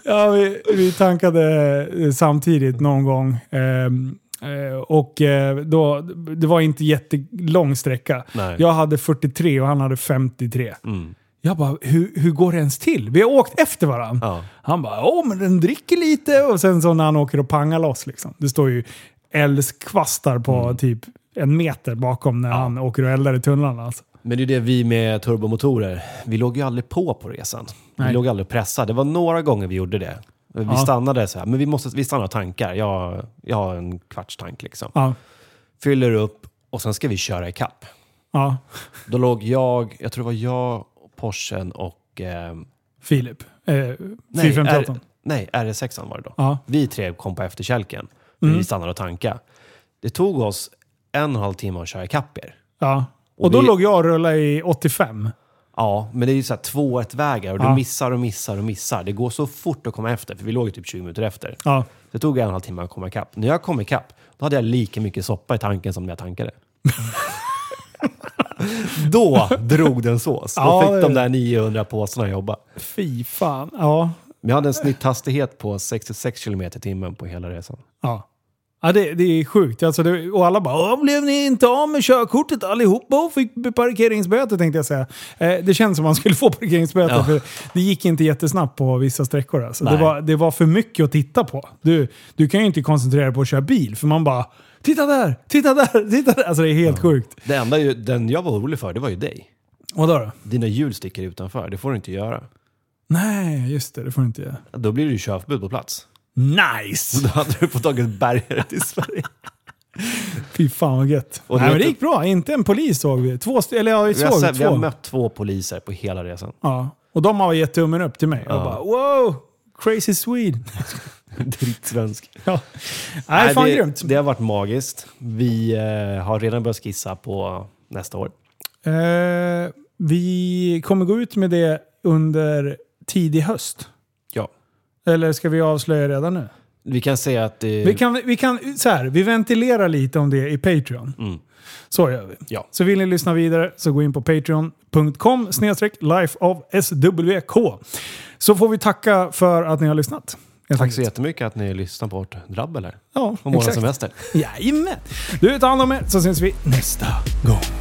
Speaker 1: Ja, vi, vi tankade eh, samtidigt någon gång. Ehm, eh, och eh, då, det var inte jättelång sträcka.
Speaker 2: Nej.
Speaker 1: Jag hade 43 och han hade 53.
Speaker 2: Mm.
Speaker 1: Jag bara, hur, hur går det ens till? Vi har åkt efter varandra.
Speaker 2: Ja.
Speaker 1: Han bara, åh men den dricker lite. Och sen så när han åker och pangar loss liksom. Det står ju älskvastar på
Speaker 2: Mm.
Speaker 1: typ en meter bakom när han åker och eldar i tunnlarna. Alltså.
Speaker 2: Men det är det vi med turbomotorer, vi låg ju aldrig på på resan.
Speaker 1: Nej.
Speaker 2: Vi låg aldrig pressade. Det var några gånger vi gjorde det. Vi
Speaker 1: Ja.
Speaker 2: stannade så här, men vi, måste, vi stannar och tankar. Jag, jag har en kvarts tank liksom.
Speaker 1: Ja,
Speaker 2: Fyller upp och sen ska vi köra i kapp.
Speaker 1: ja.
Speaker 2: Då låg jag, jag tror det var jag, Porschen och... Eh,
Speaker 1: Filip. Eh,
Speaker 2: nej,
Speaker 1: 458.
Speaker 2: R- nej, RS6 an var det då.
Speaker 1: Ja. Mm.
Speaker 2: Vi tre kom på efterkälken. Vi stannade och tankade. Det tog oss en och en halv timme att köra i kapp er.
Speaker 1: Ja. Och då
Speaker 2: vi-
Speaker 1: låg jag och rullade i 85.
Speaker 2: Ja, men det är ju så här 2-1 vägar och du
Speaker 1: Ja.
Speaker 2: missar och missar och missar. Det går så fort att komma efter, för vi låg ju typ 20 minuter efter.
Speaker 1: Ja.
Speaker 2: Det tog en och en halv timme att komma ikapp. När jag kom ikapp, då hade jag lika mycket soppa i tanken som när
Speaker 1: [LAUGHS]
Speaker 2: jag tankade. då drog den sås. Då
Speaker 1: Ja, det-
Speaker 2: fick de där 900 påsarna jobba.
Speaker 1: Fy fan. Ja.
Speaker 2: Men jag hade en snitthastighet på 66 km i timmen på hela resan.
Speaker 1: Ja. Ja, det, det är sjukt. Alltså det, och alla bara "Åh, “Blev ni inte av med körkortet allihopa och fick parkeringsböter?” tänkte jag säga. Eh, det känns som man skulle få parkeringsböter
Speaker 2: Ja.
Speaker 1: för det gick inte jättesnabbt på vissa sträckor. Alltså. Det,
Speaker 2: Nej.
Speaker 1: var, det var för mycket att titta på. Du, du kan ju inte koncentrera dig på att köra bil för man bara “Titta där! Titta där! Titta där!” Alltså det är helt sjukt.
Speaker 2: Det enda ju, den jag var orolig för, det var ju dig.
Speaker 1: Och då då?
Speaker 2: Dina hjul sticker utanför, det får du inte göra.
Speaker 1: Nej, just det. Det får du inte göra.
Speaker 2: Då blir det ju körförbud på plats.
Speaker 1: Nice!
Speaker 2: Då hade du fått tagit bärgare till Sverige.
Speaker 1: Fy fan vad gött.
Speaker 2: Och du
Speaker 1: Nej, men
Speaker 2: vet
Speaker 1: det gick bra. Inte en polis såg vi. Två st- eller ja, vi
Speaker 2: Vi har,
Speaker 1: såg
Speaker 2: sett- vi
Speaker 1: två.
Speaker 2: har mött två poliser på
Speaker 1: [LAUGHS]
Speaker 2: hela resan.
Speaker 1: Ja, och de har gett tummen upp till mig. Jag
Speaker 2: Ja.
Speaker 1: bara wow, crazy
Speaker 2: [LAUGHS]
Speaker 1: Swede.
Speaker 2: Dritsvensk.
Speaker 1: ja. Nej, fan
Speaker 2: det,
Speaker 1: grymt.
Speaker 2: det har varit magiskt. Vi eh, har redan börjat skissa på nästa år.
Speaker 1: Eh, vi kommer gå ut med det under tidig höst.
Speaker 2: Ja.
Speaker 1: Eller ska vi avslöja redan nu?
Speaker 2: Vi kan säga att... Eh,
Speaker 1: Vi kan, vi kan så här, vi ventilerar lite om det i Patreon.
Speaker 2: Mm.
Speaker 1: Så gör vi.
Speaker 2: Ja.
Speaker 1: Så vill ni lyssna vidare så gå in på patreon.com lifeofswk. Så får vi tacka för att ni har lyssnat. helt
Speaker 2: Tack så
Speaker 1: enkelt.
Speaker 2: jättemycket att ni lyssnar på vårt drabbel här.
Speaker 1: Ja,
Speaker 2: Om vår
Speaker 1: exakt.
Speaker 2: semester.
Speaker 1: Jajamän! Du, ta hand om er så syns vi nästa gång.